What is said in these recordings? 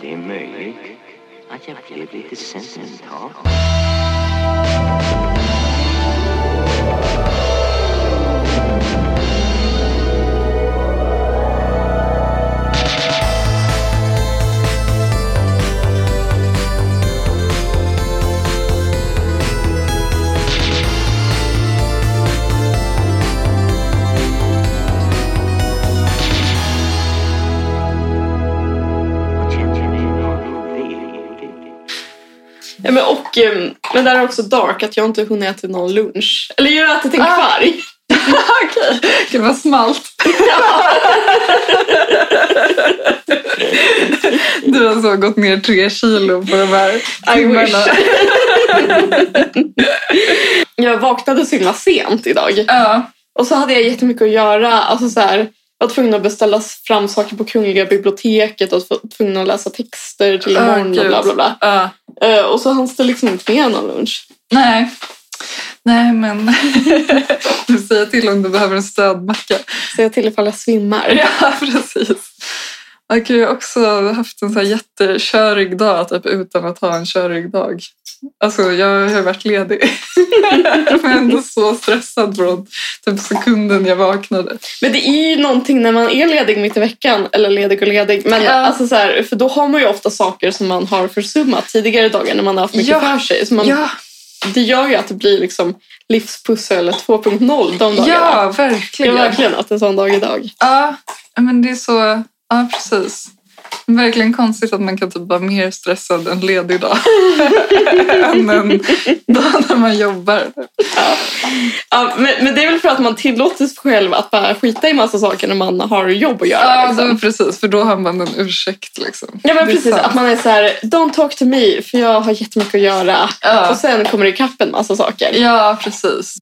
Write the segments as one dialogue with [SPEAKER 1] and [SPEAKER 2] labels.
[SPEAKER 1] Det är möjligt att jag blev lite sentimental. Jag känner mig något velig.
[SPEAKER 2] Ja, men, och, eh, men där är också dark att jag inte hunnit äta någon lunch. Eller jag har ätit en
[SPEAKER 3] Ah.
[SPEAKER 2] kvarg.
[SPEAKER 3] Okej, det var smalt. du har så gått ner tre kilo på de här
[SPEAKER 2] I wish.
[SPEAKER 3] timmarna.
[SPEAKER 2] jag vaknade så himla sent idag.
[SPEAKER 3] Ja.
[SPEAKER 2] Och så hade jag jättemycket att göra. Alltså, så här, jag var tvungen att beställa fram saker på Kungliga biblioteket och var tvungen att läsa texter till
[SPEAKER 3] Ah,
[SPEAKER 2] imorgon och
[SPEAKER 3] gud.
[SPEAKER 2] bla bla bla.
[SPEAKER 3] ja.
[SPEAKER 2] Eh, och så hanns det liksom inte med någon lunch.
[SPEAKER 3] Nej. Nej, men du säger till om du behöver en stödmacka.
[SPEAKER 2] Så jag till ifall jag svimmar.
[SPEAKER 3] Ja, precis. Jag har ju också haft en så här jättekörig dag typ, utan att ha en körig dag. Alltså, jag har ju varit ledig. Men ändå så stressad från typ, sekunden jag vaknade.
[SPEAKER 2] Men det är ju någonting när man är ledig mitt i veckan. Eller ledig och ledig. Men
[SPEAKER 3] Ja.
[SPEAKER 2] alltså så här, för då har man ju ofta saker som man har försummat tidigare dagar när man har haft mycket
[SPEAKER 3] Ja.
[SPEAKER 2] för sig. Så man,
[SPEAKER 3] Ja,
[SPEAKER 2] Det gör ju att det blir liksom livspussel 2.0 de dagarna.
[SPEAKER 3] ja
[SPEAKER 2] Jag
[SPEAKER 3] verkligen.
[SPEAKER 2] har verkligen att en sån dag idag.
[SPEAKER 3] Ja, men det är så... Ja, precis. Verkligen konstigt att man kan typ vara mer stressad en ledig dag än en dag när man jobbar.
[SPEAKER 2] Ja, men, men det är väl för att man tillåter sig själv att bara skita i massa saker när man har jobb att göra.
[SPEAKER 3] Ja,
[SPEAKER 2] liksom.
[SPEAKER 3] då, precis. För då har man en ursäkt. Liksom.
[SPEAKER 2] Ja men
[SPEAKER 3] Det är
[SPEAKER 2] precis,
[SPEAKER 3] sant.
[SPEAKER 2] att man är så här, don't talk to me för jag har jättemycket att göra. Och
[SPEAKER 3] Ja.
[SPEAKER 2] sen kommer det ikapp en massa saker.
[SPEAKER 3] ja, precis.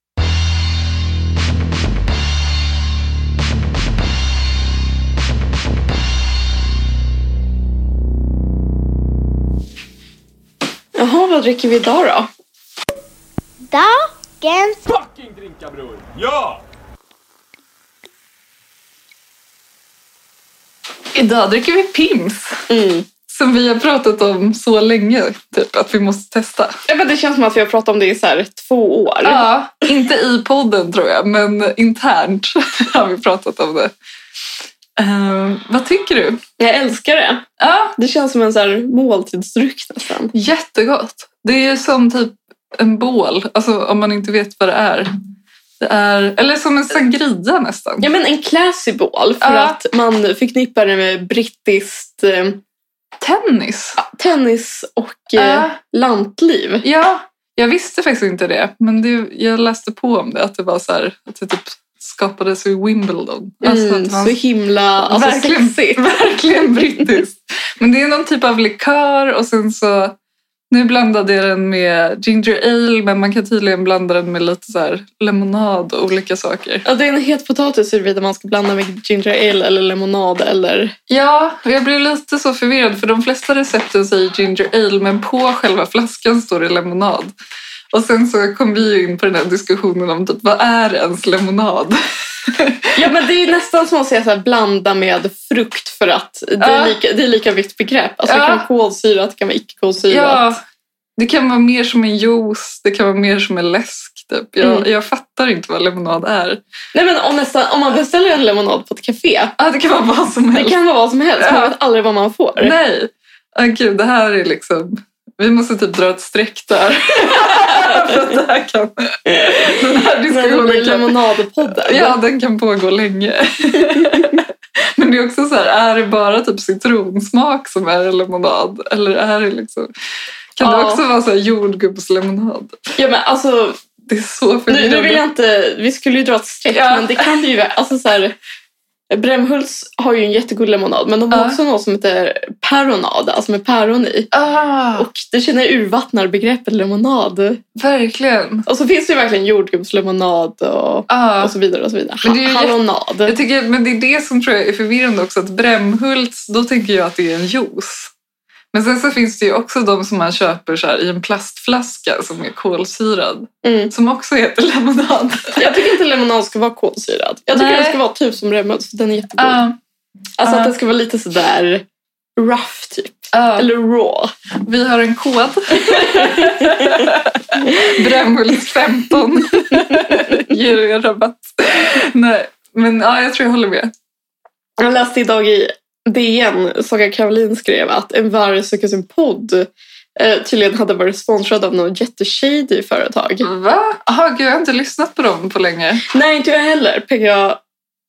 [SPEAKER 2] Jaha, vad dricker vi idag då?
[SPEAKER 4] Dagens
[SPEAKER 5] fucking drinka bror! Ja!
[SPEAKER 3] Idag dricker vi Pims,
[SPEAKER 2] Mm.
[SPEAKER 3] som vi har pratat om så länge typ, att vi måste testa.
[SPEAKER 2] Ja, men det känns som att vi har pratat om det i så här, två år.
[SPEAKER 3] Ja, inte i podden tror jag, men internt har vi pratat om det. Ehm, vad tycker du?
[SPEAKER 2] Jag älskar det.
[SPEAKER 3] Ja,
[SPEAKER 2] Det känns som en så här, måltidsdryck nästan.
[SPEAKER 3] jättegott. Det är ju som typ en bål, alltså om man inte vet vad det är. Det är eller som en sangria nästan.
[SPEAKER 2] Ja men en classy ball för
[SPEAKER 3] Ja.
[SPEAKER 2] att man förknippar det med brittiskt eh,
[SPEAKER 3] Tennis.
[SPEAKER 2] tennis och eh,
[SPEAKER 3] Ja.
[SPEAKER 2] lantliv.
[SPEAKER 3] Ja, jag visste faktiskt inte det. Men det, jag läste på om det, att det var så här, att det typ skapades i Wimbledon. Alltså
[SPEAKER 2] Mm,
[SPEAKER 3] att man
[SPEAKER 2] så himla alltså,
[SPEAKER 3] Verkligen.
[SPEAKER 2] sexigt.
[SPEAKER 3] verkligen brittiskt. Men det är någon typ av likör och sen så... Nu blandade jag den med ginger ale, men man kan tydligen blanda den med lite så här lemonad och olika saker.
[SPEAKER 2] Ja, det är en het potatis huruvida man ska blanda med ginger ale eller lemonad eller...
[SPEAKER 3] Ja, och jag blev lite så förvirrad för de flesta recepten säger ginger ale, men på själva flaskan står det lemonad. Och sen så kom vi ju in på den här diskussionen om typ, vad är ens lemonad?
[SPEAKER 2] Ja, men det är ju nästan som att säga så här, blanda med frukt för att det är
[SPEAKER 3] Ja.
[SPEAKER 2] lika, det är lika vitt begrepp. Alltså,
[SPEAKER 3] Ja.
[SPEAKER 2] Det kan vara kolsyrat, det kan vara icke-kolsyrat.
[SPEAKER 3] Ja, det kan vara mer som en juice, det kan vara mer som en läsk. Typ. Jag,
[SPEAKER 2] Mm.
[SPEAKER 3] jag fattar inte vad lemonad är.
[SPEAKER 2] Nej, men om, nästan, om man beställer en lemonad på ett café,
[SPEAKER 3] Ja, det kan vara vad som
[SPEAKER 2] det
[SPEAKER 3] helst.
[SPEAKER 2] kan vara vad som helst.
[SPEAKER 3] Ja.
[SPEAKER 2] Man vet aldrig vad man får.
[SPEAKER 3] Nej, ah, gud, det här är liksom... Vi måste typ dra ett streck där. För att det här kan... Den här
[SPEAKER 2] Men det blir
[SPEAKER 3] diskussionen kan...
[SPEAKER 2] lemonadpodden.
[SPEAKER 3] Ja, den kan pågå länge. Men det är också så här, är det bara typ citronsmak som är en lemonad? Eller är det liksom... Kan det
[SPEAKER 2] Ja.
[SPEAKER 3] också vara så här jordgubbslemonad?
[SPEAKER 2] Ja, men alltså,
[SPEAKER 3] Det är så
[SPEAKER 2] nu,
[SPEAKER 3] förvirrande.
[SPEAKER 2] nu vill jag inte... Vi skulle ju dra ett streck,
[SPEAKER 3] Ja.
[SPEAKER 2] men det kan det ju... vara- Alltså, så här, Brämhults har ju en jättegod lemonad, men de har
[SPEAKER 3] Ja.
[SPEAKER 2] också något som heter päronad, alltså med päron i.
[SPEAKER 3] Ah,
[SPEAKER 2] Och det känner jag urvattnar begreppet lemonad.
[SPEAKER 3] verkligen.
[SPEAKER 2] Och så finns det ju verkligen jordgubbslemonad och,
[SPEAKER 3] Ah.
[SPEAKER 2] och så vidare. och så vidare.
[SPEAKER 3] Men det är ju
[SPEAKER 2] Hallonad.
[SPEAKER 3] Jag tycker, men det är det som tror jag är förvirrande också. Att Brämhults, då tänker jag att det är en juice. Men sen så finns det ju också de som man köper så här i en plastflaska som är kolsyrad.
[SPEAKER 2] Mm.
[SPEAKER 3] Som också heter lemonad.
[SPEAKER 2] Jag tycker inte lemonad ska vara kolsyrad. Jag tycker
[SPEAKER 3] Nej. Ah,
[SPEAKER 2] den ska vara typ som Brämhults, för den är jättegod.
[SPEAKER 3] Ja,
[SPEAKER 2] Alltså
[SPEAKER 3] ja.
[SPEAKER 2] att den ska vara lite sådär rough typ.
[SPEAKER 3] Ja.
[SPEAKER 2] Eller raw.
[SPEAKER 3] Vi har en kod. Brännhult 15 ger er rabatt. Nej, men ja, jag tror jag håller med.
[SPEAKER 2] Jag läste idag i DN, Saga Karolin skrev att En varg söker sin podd eh, tydligen hade varit sponsrad av något jätteshady företag.
[SPEAKER 3] Mm. Va? Aha, gud, jag har inte lyssnat på dem på länge.
[SPEAKER 2] Nej, inte jag heller. PGA,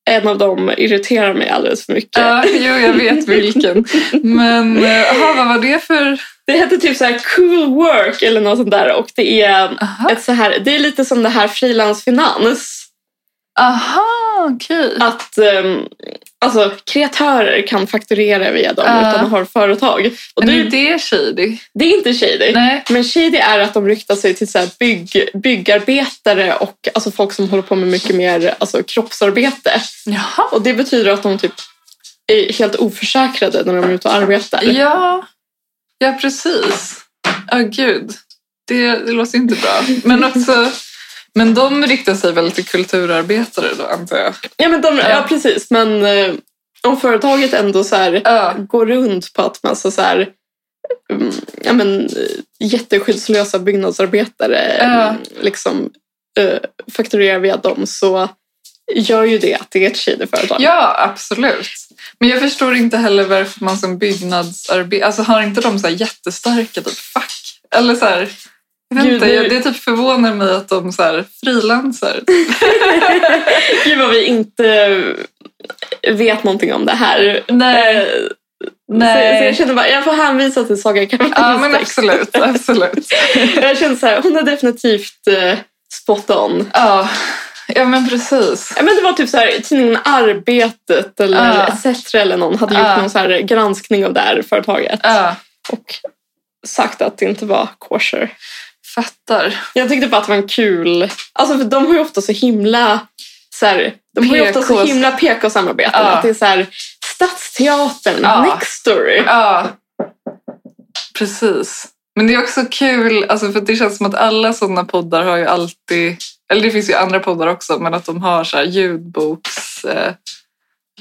[SPEAKER 2] en av dem irriterar mig alldeles för mycket.
[SPEAKER 3] Ja, jo, jag vet vilken. Men eh, aha, vad var det för...
[SPEAKER 2] Det hette typ så här cool work eller något sånt där och det är
[SPEAKER 3] Aha,
[SPEAKER 2] ett så här, det är lite som det här frilansfinans.
[SPEAKER 3] aha okej.
[SPEAKER 2] Att ehm, alltså, kreatörer kan fakturera via dem
[SPEAKER 3] Ja.
[SPEAKER 2] utan att ha företag. Och
[SPEAKER 3] Men
[SPEAKER 2] det,
[SPEAKER 3] är det shady?
[SPEAKER 2] det är inte shady.
[SPEAKER 3] Nej.
[SPEAKER 2] Men shady är att de ryktar sig till så här bygg, byggarbetare och alltså folk som håller på med mycket mer alltså, kroppsarbete.
[SPEAKER 3] Jaha.
[SPEAKER 2] Och det betyder att de typ är helt oförsäkrade när de är ute och arbetar.
[SPEAKER 3] Ja, ja precis. Ja, gud. Det, det låter inte bra. Men också... Men de riktar sig väl till kulturarbetare då, antar jag?
[SPEAKER 2] Ja, men de, ja.
[SPEAKER 3] Ja.
[SPEAKER 2] precis. Men eh, om företaget ändå så här,
[SPEAKER 3] Ja.
[SPEAKER 2] går runt på att massa så här, mm, ja, men, eh, jätteskyddslösa byggnadsarbetare
[SPEAKER 3] Ja.
[SPEAKER 2] mm, liksom, eh, fakturerar via dem så gör ju det att det är ett shady-företag.
[SPEAKER 3] ja, absolut. Men jag förstår inte heller varför man som byggnadsarbetare... Alltså har inte de så här jättestarka typ fack? Eller så här... Jag vet
[SPEAKER 2] Gud,
[SPEAKER 3] inte,
[SPEAKER 2] nu-
[SPEAKER 3] jag, det typ förvånar mig att de så här frilansar.
[SPEAKER 2] Gud vad vi inte vet någonting om det här. Eh, Så, så jag känner bara, jag får hänvisa till Saga Karolins
[SPEAKER 3] Ja, men
[SPEAKER 2] text.
[SPEAKER 3] absolut. absolut.
[SPEAKER 2] Jag känner så här, hon har definitivt eh, spot on.
[SPEAKER 3] Ja. ja, men precis.
[SPEAKER 2] Ja, men det var typ så här, tidningen Arbetet eller
[SPEAKER 3] Ja.
[SPEAKER 2] etc. eller någon hade gjort
[SPEAKER 3] Ja.
[SPEAKER 2] någon så här granskning av det här företaget
[SPEAKER 3] Ja,
[SPEAKER 2] och sagt att det inte var kosher.
[SPEAKER 3] fattar.
[SPEAKER 2] Jag tyckte bara att det var en kul... Alltså för de har ju ofta så himla... Så här, de har ju ofta så
[SPEAKER 3] PK.
[SPEAKER 2] himla PK-samarbeten.
[SPEAKER 3] Ja.
[SPEAKER 2] Att det är så här, Stadsteatern,
[SPEAKER 3] Ja.
[SPEAKER 2] Next Story.
[SPEAKER 3] Ja, precis. Men det är också kul, alltså för det känns som att alla sådana poddar har ju alltid, eller det finns ju andra poddar också, men att de har så här ljudboks, eh,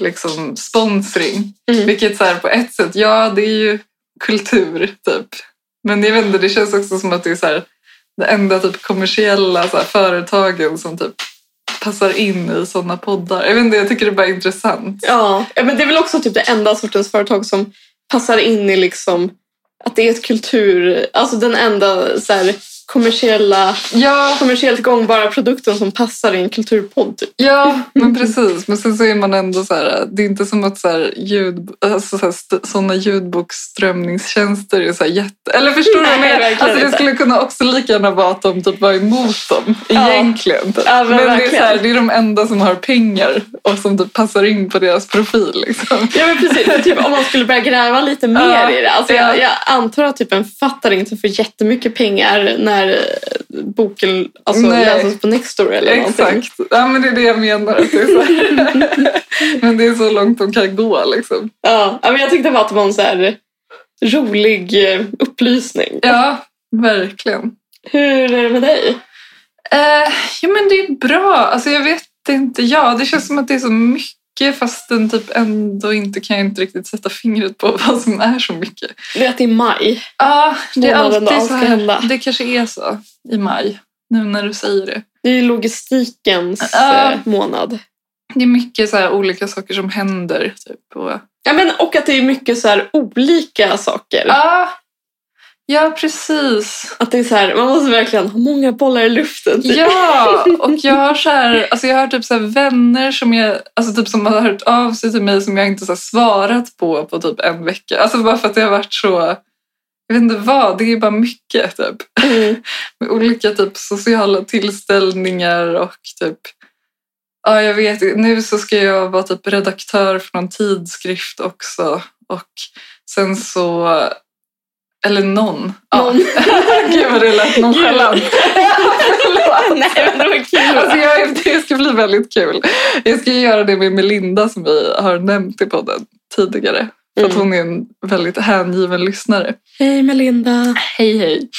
[SPEAKER 3] liksom sponsring.
[SPEAKER 2] Mm.
[SPEAKER 3] Vilket så här på ett sätt, ja det är ju kultur typ. Men jag vet inte, det känns också som att det är så här det enda typ kommersiella så här, företagen som typ passar in i sådana poddar. Jag vet inte, jag tycker det är bara intressant.
[SPEAKER 2] Ja. ja, men det är väl också typ det enda sortens företag som passar in i liksom att det är ett kultur... Alltså den enda så här, kommersiella
[SPEAKER 3] Ja,
[SPEAKER 2] kommersiellt gångbara produkten som passar i en kulturpodd. Typ.
[SPEAKER 3] Ja, men precis. Men sen så är man ändå så här, det är inte som att så här, ljud, alltså så här, st- såna ljudbokströmningstjänster är så här jätte... Eller förstår du vad jag
[SPEAKER 2] Nej,
[SPEAKER 3] menar?
[SPEAKER 2] verkligen
[SPEAKER 3] Alltså det
[SPEAKER 2] inte.
[SPEAKER 3] skulle kunna också lika gärna vara att de typ var emot dem,
[SPEAKER 2] Ja.
[SPEAKER 3] egentligen. Typ.
[SPEAKER 2] Ja, men
[SPEAKER 3] det, är så
[SPEAKER 2] verkligen.
[SPEAKER 3] här, det är de enda som har pengar och som typ passar in på deras profil. Liksom.
[SPEAKER 2] Ja men precis, För typ, om man skulle börja gräva lite mer
[SPEAKER 3] Ja,
[SPEAKER 2] i det. Alltså, jag,
[SPEAKER 3] ja.
[SPEAKER 2] jag antar att typ en författare inte får jättemycket pengar när eh, boken alltså,
[SPEAKER 3] Nej.
[SPEAKER 2] läses på Nextdoor eller någonting.
[SPEAKER 3] Exakt. Ja, men det är det jag menar. Att det är så här. men det är så långt de kan gå. Liksom.
[SPEAKER 2] Ja, ja, men jag tyckte bara att det var en så här rolig eh, upplysning.
[SPEAKER 3] Ja, verkligen.
[SPEAKER 2] Hur är det med dig?
[SPEAKER 3] Eh, ja, men det är bra. Alltså, jag vet inte. Ja, det känns som att det är så mycket fastän typ ändå inte kan jag inte riktigt sätta fingret på vad som är så mycket.
[SPEAKER 2] Det är att det är maj.
[SPEAKER 3] Ja, det är
[SPEAKER 2] Månaden då,
[SPEAKER 3] alltid så
[SPEAKER 2] ska
[SPEAKER 3] här.
[SPEAKER 2] hända.
[SPEAKER 3] Det kanske är så i maj, nu när du säger det.
[SPEAKER 2] Det är ju logistikens
[SPEAKER 3] Ja.
[SPEAKER 2] eh, månad.
[SPEAKER 3] Det är mycket så här olika saker som händer. Typ, och...
[SPEAKER 2] Ja, men, och att det är mycket så här olika saker.
[SPEAKER 3] Ja, ja, precis.
[SPEAKER 2] Att det är så här, man måste verkligen ha många bollar i luften. typ.
[SPEAKER 3] Ja, och jag har, så här, alltså jag har typ så här vänner som, jag, alltså typ som har hört av sig till mig som jag inte så här svarat på på typ en vecka. Alltså bara för att det har varit så... Jag vet inte vad, det är bara mycket. Typ.
[SPEAKER 2] Mm.
[SPEAKER 3] Med olika typ sociala tillställningar och typ... Ja, jag vet inte. Nu så ska jag vara typ redaktör för någon tidskrift också. Och sen så... Eller någon. Ja.
[SPEAKER 2] Någon.
[SPEAKER 3] Gud vad det lät nonchalant.
[SPEAKER 2] Nej, men det var kul.
[SPEAKER 3] Alltså jag, det ska bli väldigt kul. Jag ska ju göra det med Melinda som vi har nämnt i podden tidigare. För att
[SPEAKER 2] Mm.
[SPEAKER 3] hon är en väldigt hängiven lyssnare.
[SPEAKER 2] Hej Melinda.
[SPEAKER 3] Hej hej.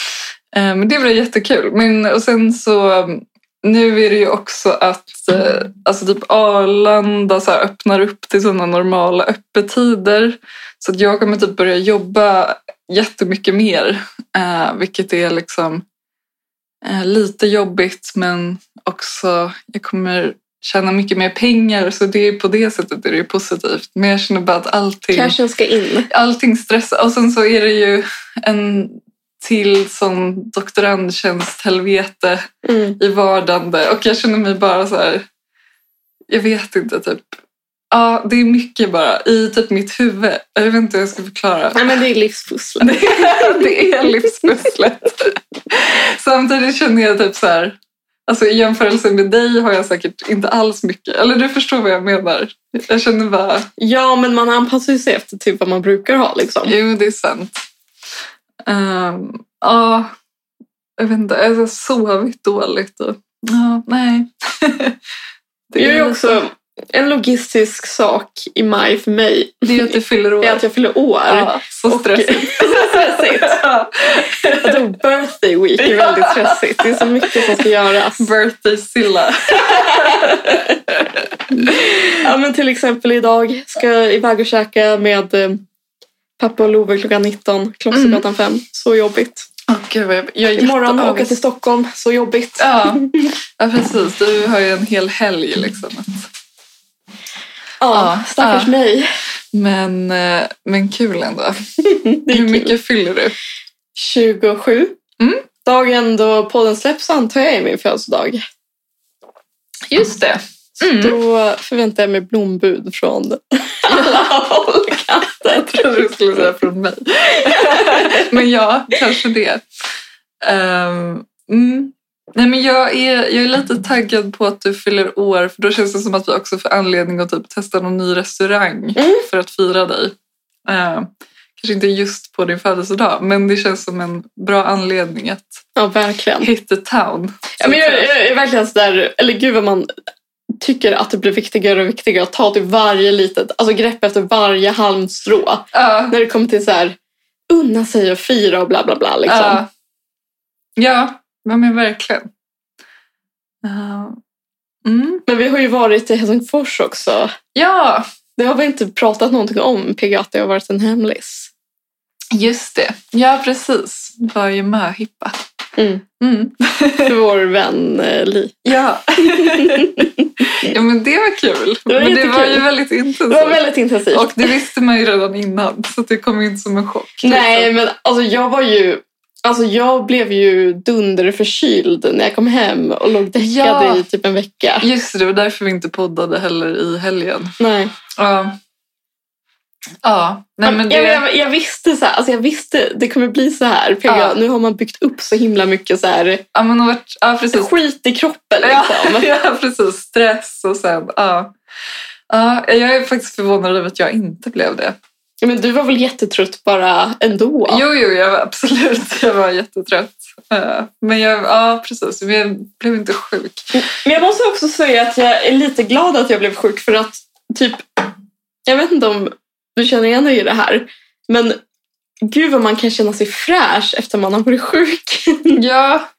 [SPEAKER 3] Eh, Men det blir jättekul. Men, och sen så Nu är det ju också att eh, alltså typ Arlanda så här öppnar upp till sådana normala öppettider. Så att jag kommer typ börja jobba jättemycket mer. Eh, vilket är liksom eh, lite jobbigt men också jag kommer tjäna mycket mer pengar. Så det är på det sättet är det ju positivt. Men jag känner bara att allting
[SPEAKER 2] Cashen ska in.
[SPEAKER 3] allting stressar. Och sen så är det ju en till sån doktorandtjänst helvete
[SPEAKER 2] Mm.
[SPEAKER 3] i vardande. Och jag känner mig bara så här, jag vet inte typ. Ja, det är mycket bara i typ mitt huvud. Jag vet inte hur jag ska förklara.
[SPEAKER 2] Nej, men det är livspusslet.
[SPEAKER 3] Det är, det är livspusslet. Samtidigt känner jag typ så här, alltså i jämförelse med dig har jag säkert inte alls mycket. Eller du förstår vad jag menar. Jag känner bara,
[SPEAKER 2] Ja, men man anpassar ju sig efter typ vad man brukar ha. Liksom.
[SPEAKER 3] Jo, det är sant. Ehm, Ja, jag vet inte. Jag har sovit dåligt. Och, ja, nej.
[SPEAKER 2] Det är ju
[SPEAKER 3] lite-
[SPEAKER 2] också en logistisk sak i maj för mig.
[SPEAKER 3] Det är att du fyller år.
[SPEAKER 2] Det är att jag fyller år.
[SPEAKER 3] ja, så
[SPEAKER 2] Och-
[SPEAKER 3] stressigt.
[SPEAKER 2] så stressigt.
[SPEAKER 3] Ja.
[SPEAKER 2] Att då birthday week är väldigt stressigt. Det är så mycket som ska göras.
[SPEAKER 3] Birthday Silla.
[SPEAKER 2] Ja, men till exempel idag ska jag iväg och käka med eh, pappa och Love klockan 19,
[SPEAKER 3] Mm.
[SPEAKER 2] Klostergatan 5. Så jobbigt.
[SPEAKER 3] Åh, gud, vad jag, jag är
[SPEAKER 2] Imorgon åka
[SPEAKER 3] jätteavis.
[SPEAKER 2] till Stockholm, så jobbigt.
[SPEAKER 3] Ja. ja, precis. Du har ju en hel helg liksom. Att,
[SPEAKER 2] Ja,
[SPEAKER 3] Ja,
[SPEAKER 2] stackars
[SPEAKER 3] ja.
[SPEAKER 2] mig.
[SPEAKER 3] men, eh, men kul ändå.
[SPEAKER 2] Det är
[SPEAKER 3] Hur
[SPEAKER 2] kul.
[SPEAKER 3] mycket fyller du?
[SPEAKER 2] 27.
[SPEAKER 3] Mm.
[SPEAKER 2] Dagen då podden släpps antar jag är min födelsedag.
[SPEAKER 3] Just det. Mm.
[SPEAKER 2] Då förväntar jag mig blombud från alla håll och kanter.
[SPEAKER 3] Jag trodde du skulle säga från mig. men ja, kanske det. Ehm, mm. Nej, men jag, är, jag är lite taggad på att du fyller år för då känns det som att vi också får anledning att typ testa någon ny restaurang
[SPEAKER 2] Mm.
[SPEAKER 3] för att fira dig. Ehm, kanske inte just på din födelsedag men det känns som en bra anledning att
[SPEAKER 2] Ja, verkligen.
[SPEAKER 3] hit the town.
[SPEAKER 2] Ja, men jag, jag är verkligen sådär, eller gud vad man tycker att det blir viktigare och viktigare att ta till varje litet, alltså grepp efter varje halmstrå.
[SPEAKER 3] Ja,
[SPEAKER 2] När det kommer till så här, unna sig och fira och bla bla bla. Liksom.
[SPEAKER 3] ja. ja, ja, men verkligen. Ehm, mm.
[SPEAKER 2] Men vi har ju varit i Helsingfors också.
[SPEAKER 3] Ja,
[SPEAKER 2] Det har vi inte pratat någonting om, PGA, att det har varit en hemlis.
[SPEAKER 3] Just det. Ja, precis. Det var ju möhippa.
[SPEAKER 2] Mm.
[SPEAKER 3] Mm.
[SPEAKER 2] För vår vän eh, Li.
[SPEAKER 3] Ja. ja, men det var kul.
[SPEAKER 2] Det var
[SPEAKER 3] men det
[SPEAKER 2] jättekul.
[SPEAKER 3] var ju väldigt
[SPEAKER 2] Det var
[SPEAKER 3] intensivt.
[SPEAKER 2] väldigt intensivt.
[SPEAKER 3] Och det visste man ju redan innan, så det kom ju inte som en chock. liksom.
[SPEAKER 2] Nej, men alltså jag var ju... Alltså jag blev ju dunderförkyld när jag kom hem och låg däckad
[SPEAKER 3] Ja.
[SPEAKER 2] i typ en vecka.
[SPEAKER 3] Just det, det var därför vi inte poddade heller i helgen.
[SPEAKER 2] Nej.
[SPEAKER 3] Ja. Ja. Nej, men
[SPEAKER 2] jag,
[SPEAKER 3] det...
[SPEAKER 2] jag, jag visste så här, alltså jag visste det kommer bli så här. PGA.
[SPEAKER 3] Ja.
[SPEAKER 2] Nu har man byggt upp så himla mycket så här,
[SPEAKER 3] Ja, men det har varit... Ja, precis.
[SPEAKER 2] skit i kroppen.
[SPEAKER 3] Ja,
[SPEAKER 2] Liksom.
[SPEAKER 3] ja, precis. Stress och sen... Ja. ja. Jag är faktiskt förvånad över att jag inte blev det.
[SPEAKER 2] Ja. Men du var väl jättetrött bara ändå?
[SPEAKER 3] Jo, jo, jag var absolut. Jag var jättetrött. Eh, Men jag, ja, precis. Men jag blev inte sjuk.
[SPEAKER 2] Men jag måste också säga att jag är lite glad att jag blev sjuk för att typ, jag vet inte om du känner igen dig i det här, men gud vad man kan känna sig fräsch efter man har varit sjuk.
[SPEAKER 3] Ja,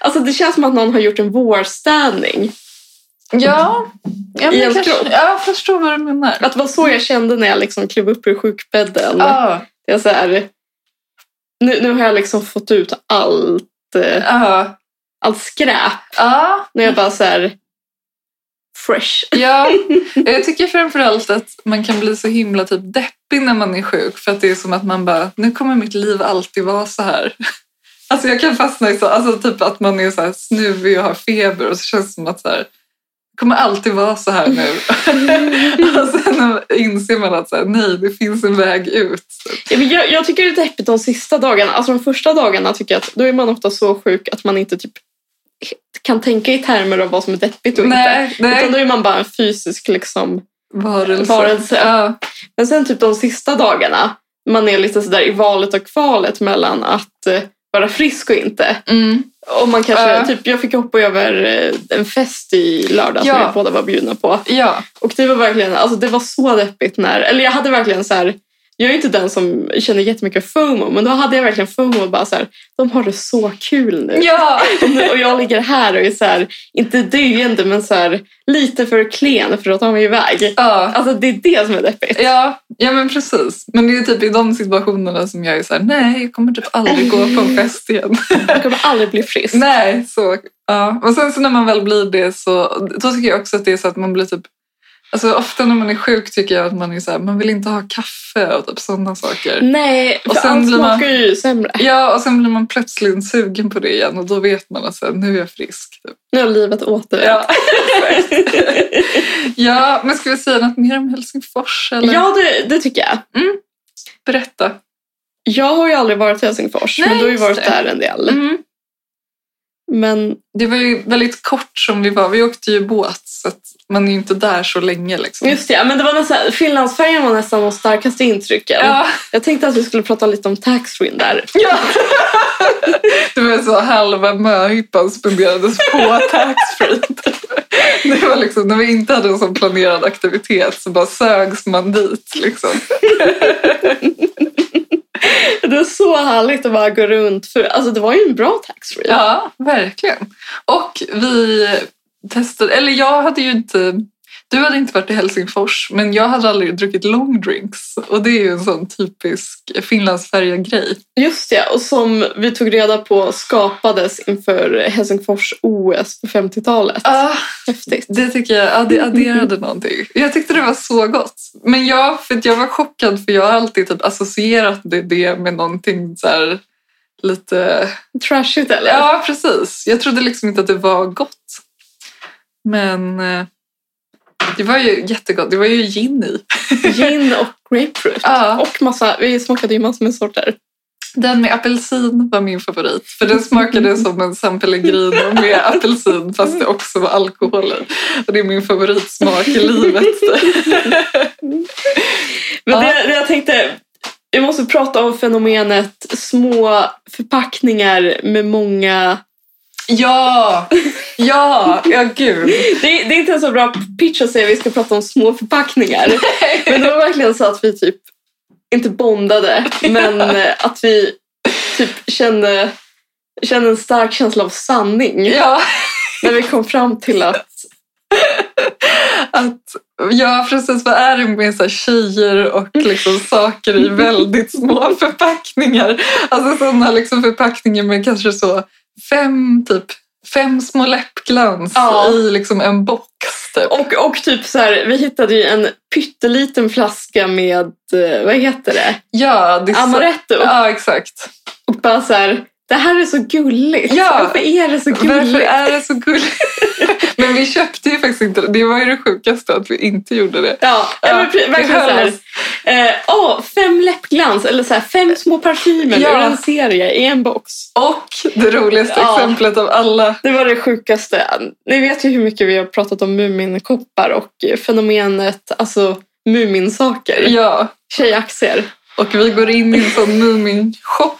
[SPEAKER 2] Alltså det känns som att någon har gjort en vårstädning.
[SPEAKER 3] ja. ja
[SPEAKER 2] I ens kropp.
[SPEAKER 3] kanske, ja, jag förstår vad du menar.
[SPEAKER 2] Att det var så jag kände när jag liksom klev upp ur sjukbädden.
[SPEAKER 3] Ja,
[SPEAKER 2] Jag så här, nu, nu har jag liksom fått ut allt, eh,
[SPEAKER 3] ja,
[SPEAKER 2] allt skräp.
[SPEAKER 3] ja.
[SPEAKER 2] När jag bara så här, fresh.
[SPEAKER 3] ja. Jag tycker framförallt att man kan bli så himla typ deppig när man är sjuk. För att det är som att man bara, nu kommer mitt liv alltid vara så här. Alltså jag kan fastna i så, alltså typ att man är så här snuvig och har feber och så känns det som att så här, det kommer alltid vara så här nu. och sen inser man att så här, nej, det finns en väg ut.
[SPEAKER 2] Ja, men Jag, jag tycker det är deppigt de sista dagarna. Alltså de första dagarna tycker jag att då är man ofta så sjuk att man inte typ kan tänka i termer av vad som är deppigt och
[SPEAKER 3] Nej,
[SPEAKER 2] inte. Utan
[SPEAKER 3] nej.
[SPEAKER 2] då är man bara en fysisk liksom.
[SPEAKER 3] Varelse.
[SPEAKER 2] Varelse.
[SPEAKER 3] Ja,
[SPEAKER 2] Men sen typ de sista dagarna, man är lite sådär i valet och kvalet mellan att eh, vara frisk och inte.
[SPEAKER 3] mm.
[SPEAKER 2] Och man kanske,
[SPEAKER 3] Ja.
[SPEAKER 2] typ, jag fick hoppa över eh, en fest i lördag
[SPEAKER 3] Ja.
[SPEAKER 2] som vi båda var bjudna på.
[SPEAKER 3] ja.
[SPEAKER 2] Och det var verkligen, alltså det var så deppigt när, eller jag hade verkligen så här, Jag är inte den som känner jättemycket FOMO, men då hade jag verkligen FOMO och bara så här, de har det så kul nu.
[SPEAKER 3] Ja!
[SPEAKER 2] Och nu- Och jag ligger här och är så här, inte döende, men så här, lite för klen för att ta mig iväg.
[SPEAKER 3] ja.
[SPEAKER 2] Alltså det är det som är deppigt.
[SPEAKER 3] Ja, ja men precis. Men det är typ i de situationerna som jag är så här, nej, jag kommer typ aldrig gå på en fest igen.
[SPEAKER 2] Jag kommer aldrig bli frisk.
[SPEAKER 3] nej, så. Ja. Och sen så när man väl blir det så, då tycker jag också att det är så att man blir typ, alltså ofta när man är sjuk tycker jag att man är så här, man vill inte ha kaffe och typ sådana
[SPEAKER 2] Mm.
[SPEAKER 3] saker.
[SPEAKER 2] Nej, för
[SPEAKER 3] Och sen
[SPEAKER 2] allt
[SPEAKER 3] blir man-
[SPEAKER 2] smakar ju sämre.
[SPEAKER 3] Ja, och sen blir man plötsligt sugen på det igen och då vet man att så här, nu är jag frisk. Typ.
[SPEAKER 2] Nu har livet åter.
[SPEAKER 3] Ja, ja, men ska vi säga något mer om Helsingfors? Eller?
[SPEAKER 2] ja det, det tycker jag.
[SPEAKER 3] Berätta.
[SPEAKER 2] Jag har ju aldrig varit i Helsingfors,
[SPEAKER 3] Nej,
[SPEAKER 2] men du har ju
[SPEAKER 3] just
[SPEAKER 2] varit
[SPEAKER 3] det. Mm.
[SPEAKER 2] där en del. Men
[SPEAKER 3] Det var ju väldigt kort som vi var. Vi åkte ju båt så att man är ju inte där så länge. Liksom.
[SPEAKER 2] just det, men det var nästan, Finlandsfärjan var nästan de starkaste intrycken.
[SPEAKER 3] Ja,
[SPEAKER 2] Jag tänkte att vi skulle prata lite om taxfree där.
[SPEAKER 3] ja. Det var så halva möhippan spenderades på taxfree. Det var liksom när vi inte hade en sån planerad aktivitet så bara sögs man dit. Liksom.
[SPEAKER 2] Det är så härligt att bara gå runt. För, alltså, det var ju en bra taxfree.
[SPEAKER 3] Ja, verkligen. Och vi testade, eller jag hade ju inte, du hade inte varit i Helsingfors, men jag hade aldrig druckit long drinks. Och det är ju en sån typisk Finlandsfärja-grej.
[SPEAKER 2] Just det, och som vi tog reda på skapades inför Helsingfors OS på 50-talet.
[SPEAKER 3] Ah,
[SPEAKER 2] Häftigt.
[SPEAKER 3] det tycker jag, ja, det adderade någonting. Jag tyckte det var så gott. Men jag, för att jag var chockad för jag har alltid typ associerat det, det med någonting så här lite...
[SPEAKER 2] Trashigt eller?
[SPEAKER 3] Ja, precis. Jag trodde liksom inte att det var gott. Men eh, det var ju jättegott. Det var ju gin i.
[SPEAKER 2] Gin och grapefruit.
[SPEAKER 3] Ja,
[SPEAKER 2] Och massa, vi smakade ju massor med sorter.
[SPEAKER 3] den med apelsin var min favorit. För den smakade som en San Pellegrino med apelsin fast det också var alkohol i. Och det är min favoritsmak i livet.
[SPEAKER 2] Men
[SPEAKER 3] Ja.
[SPEAKER 2] det, det jag tänkte, vi måste prata om fenomenet små förpackningar med många...
[SPEAKER 3] Ja, ja, ja gud.
[SPEAKER 2] Det, är- det är inte en så bra pitch att säga att vi ska prata om små förpackningar. Men det var verkligen så att vi typ, inte bondade, men eh, att vi typ kände, kände en stark känsla av sanning.
[SPEAKER 3] Ja,
[SPEAKER 2] När vi kom fram till att...
[SPEAKER 3] att, ja precis. Vad är det med så här, tjejer och liksom, saker i väldigt små förpackningar? Alltså sådana liksom, förpackningar med kanske så fem, typ, fem små läppglans
[SPEAKER 2] Ja.
[SPEAKER 3] i liksom, en box. Typ.
[SPEAKER 2] Och, och typ så här, vi hittade ju en pytteliten flaska med, eh, vad heter det?
[SPEAKER 3] Ja, det är så,
[SPEAKER 2] Amaretto.
[SPEAKER 3] ja, exakt.
[SPEAKER 2] Och bara så här, det här är så gulligt.
[SPEAKER 3] Ja.
[SPEAKER 2] Varför är det så
[SPEAKER 3] Varför
[SPEAKER 2] gulligt?
[SPEAKER 3] är det så gulligt? Men vi köpte ju faktiskt inte det. Det var ju det sjukaste att vi inte gjorde det.
[SPEAKER 2] Ja, ja, men pre-
[SPEAKER 3] vi
[SPEAKER 2] verkligen
[SPEAKER 3] höll
[SPEAKER 2] så här.
[SPEAKER 3] oss.
[SPEAKER 2] Eh, åh, fem läppglans eller så här, fem små parfymer
[SPEAKER 3] Ja.
[SPEAKER 2] ur en serie i en box.
[SPEAKER 3] Och det roligaste
[SPEAKER 2] Ja.
[SPEAKER 3] exemplet av alla
[SPEAKER 2] Det var det sjukaste. Ni vet ju hur mycket vi har pratat om Muminkoppar och eh, fenomenet alltså Muminsaker.
[SPEAKER 3] Ja,
[SPEAKER 2] Tjejaktier.
[SPEAKER 3] och vi går in i en sån Mumin-shop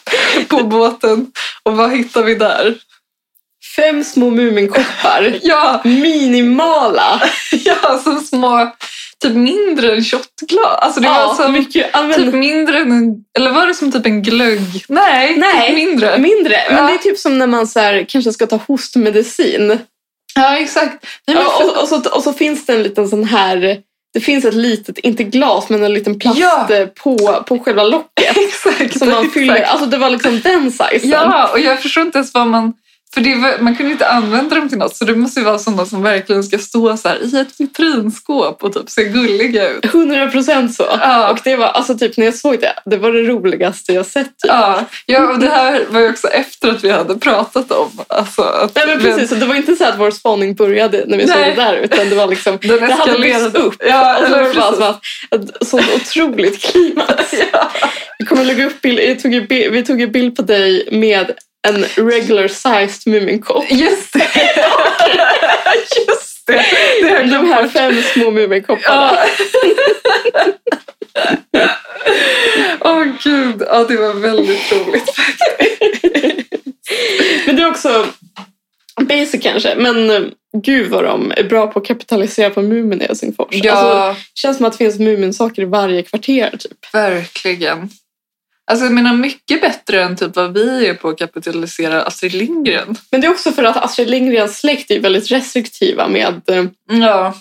[SPEAKER 3] på båten. Och vad hittar vi där?
[SPEAKER 2] Fem små Muminkoppar.
[SPEAKER 3] Ja,
[SPEAKER 2] Minimala.
[SPEAKER 3] ja så små, typ mindre än shotglas. Alltså det
[SPEAKER 2] ja,
[SPEAKER 3] var som
[SPEAKER 2] mycket. Ja, men,
[SPEAKER 3] typ mindre än en, Eller var det som typ en glögg? Nej,
[SPEAKER 2] Nej.
[SPEAKER 3] typ mindre.
[SPEAKER 2] mindre. Men
[SPEAKER 3] Ja.
[SPEAKER 2] det är typ som när man så här, kanske ska ta hostmedicin.
[SPEAKER 3] Ja, exakt. Nej, men
[SPEAKER 2] Ja,
[SPEAKER 3] för,
[SPEAKER 2] och, och, så, och så finns det en liten sån här, det finns ett litet, inte glas, men en liten plast
[SPEAKER 3] Ja.
[SPEAKER 2] eh, på, på själva locket
[SPEAKER 3] exakt.
[SPEAKER 2] som man
[SPEAKER 3] exakt.
[SPEAKER 2] fyller. Alltså det var liksom den sizen.
[SPEAKER 3] Ja, och jag förstår inte ens vad man... För det var, man kunde ju inte använda dem till något, så det måste ju vara sådana som verkligen ska stå så här i ett vitrinskåp och typ se gulliga ut.
[SPEAKER 2] 100 procent så.
[SPEAKER 3] Ja.
[SPEAKER 2] Och det var, alltså typ när jag såg det, det var det roligaste jag sett. typ.
[SPEAKER 3] Ja, ja, och det här var ju också efter att vi hade pratat om. Alltså, att
[SPEAKER 2] Nej men precis, så det var inte så att vår spaning började när vi såg
[SPEAKER 3] Nej.
[SPEAKER 2] det där, utan det var liksom,
[SPEAKER 3] Den, den
[SPEAKER 2] det hade lyfts
[SPEAKER 3] eskalerade.
[SPEAKER 2] upp.
[SPEAKER 3] Ja,
[SPEAKER 2] Och så
[SPEAKER 3] eller
[SPEAKER 2] var det bara
[SPEAKER 3] precis.
[SPEAKER 2] som att, ett sånt otroligt klimax.
[SPEAKER 3] Ja.
[SPEAKER 2] Vi kommer lägga upp bild, vi tog ju bi- vi tog ju bild på dig med en regular sized Muminkopp.
[SPEAKER 3] Just det! Just det! det har jag
[SPEAKER 2] De
[SPEAKER 3] glömt
[SPEAKER 2] här
[SPEAKER 3] bort.
[SPEAKER 2] fem små Muminkopparna.
[SPEAKER 3] Ja. Åh gud, ja, det var väldigt roligt.
[SPEAKER 2] Men det är också Basic kanske, men eh, gud vad de är bra på att kapitalisera på Mumin i Helsingfors.
[SPEAKER 3] Ja,
[SPEAKER 2] Alltså, det känns som att det finns Muminsaker i varje kvarter. Typ.
[SPEAKER 3] verkligen. Alltså jag menar mycket bättre än typ vad vi är på att kapitalisera Astrid Lindgren.
[SPEAKER 2] Men det är också för att Astrid Lindgrens släkt är väldigt restriktiva med... eh,
[SPEAKER 3] Ja, ja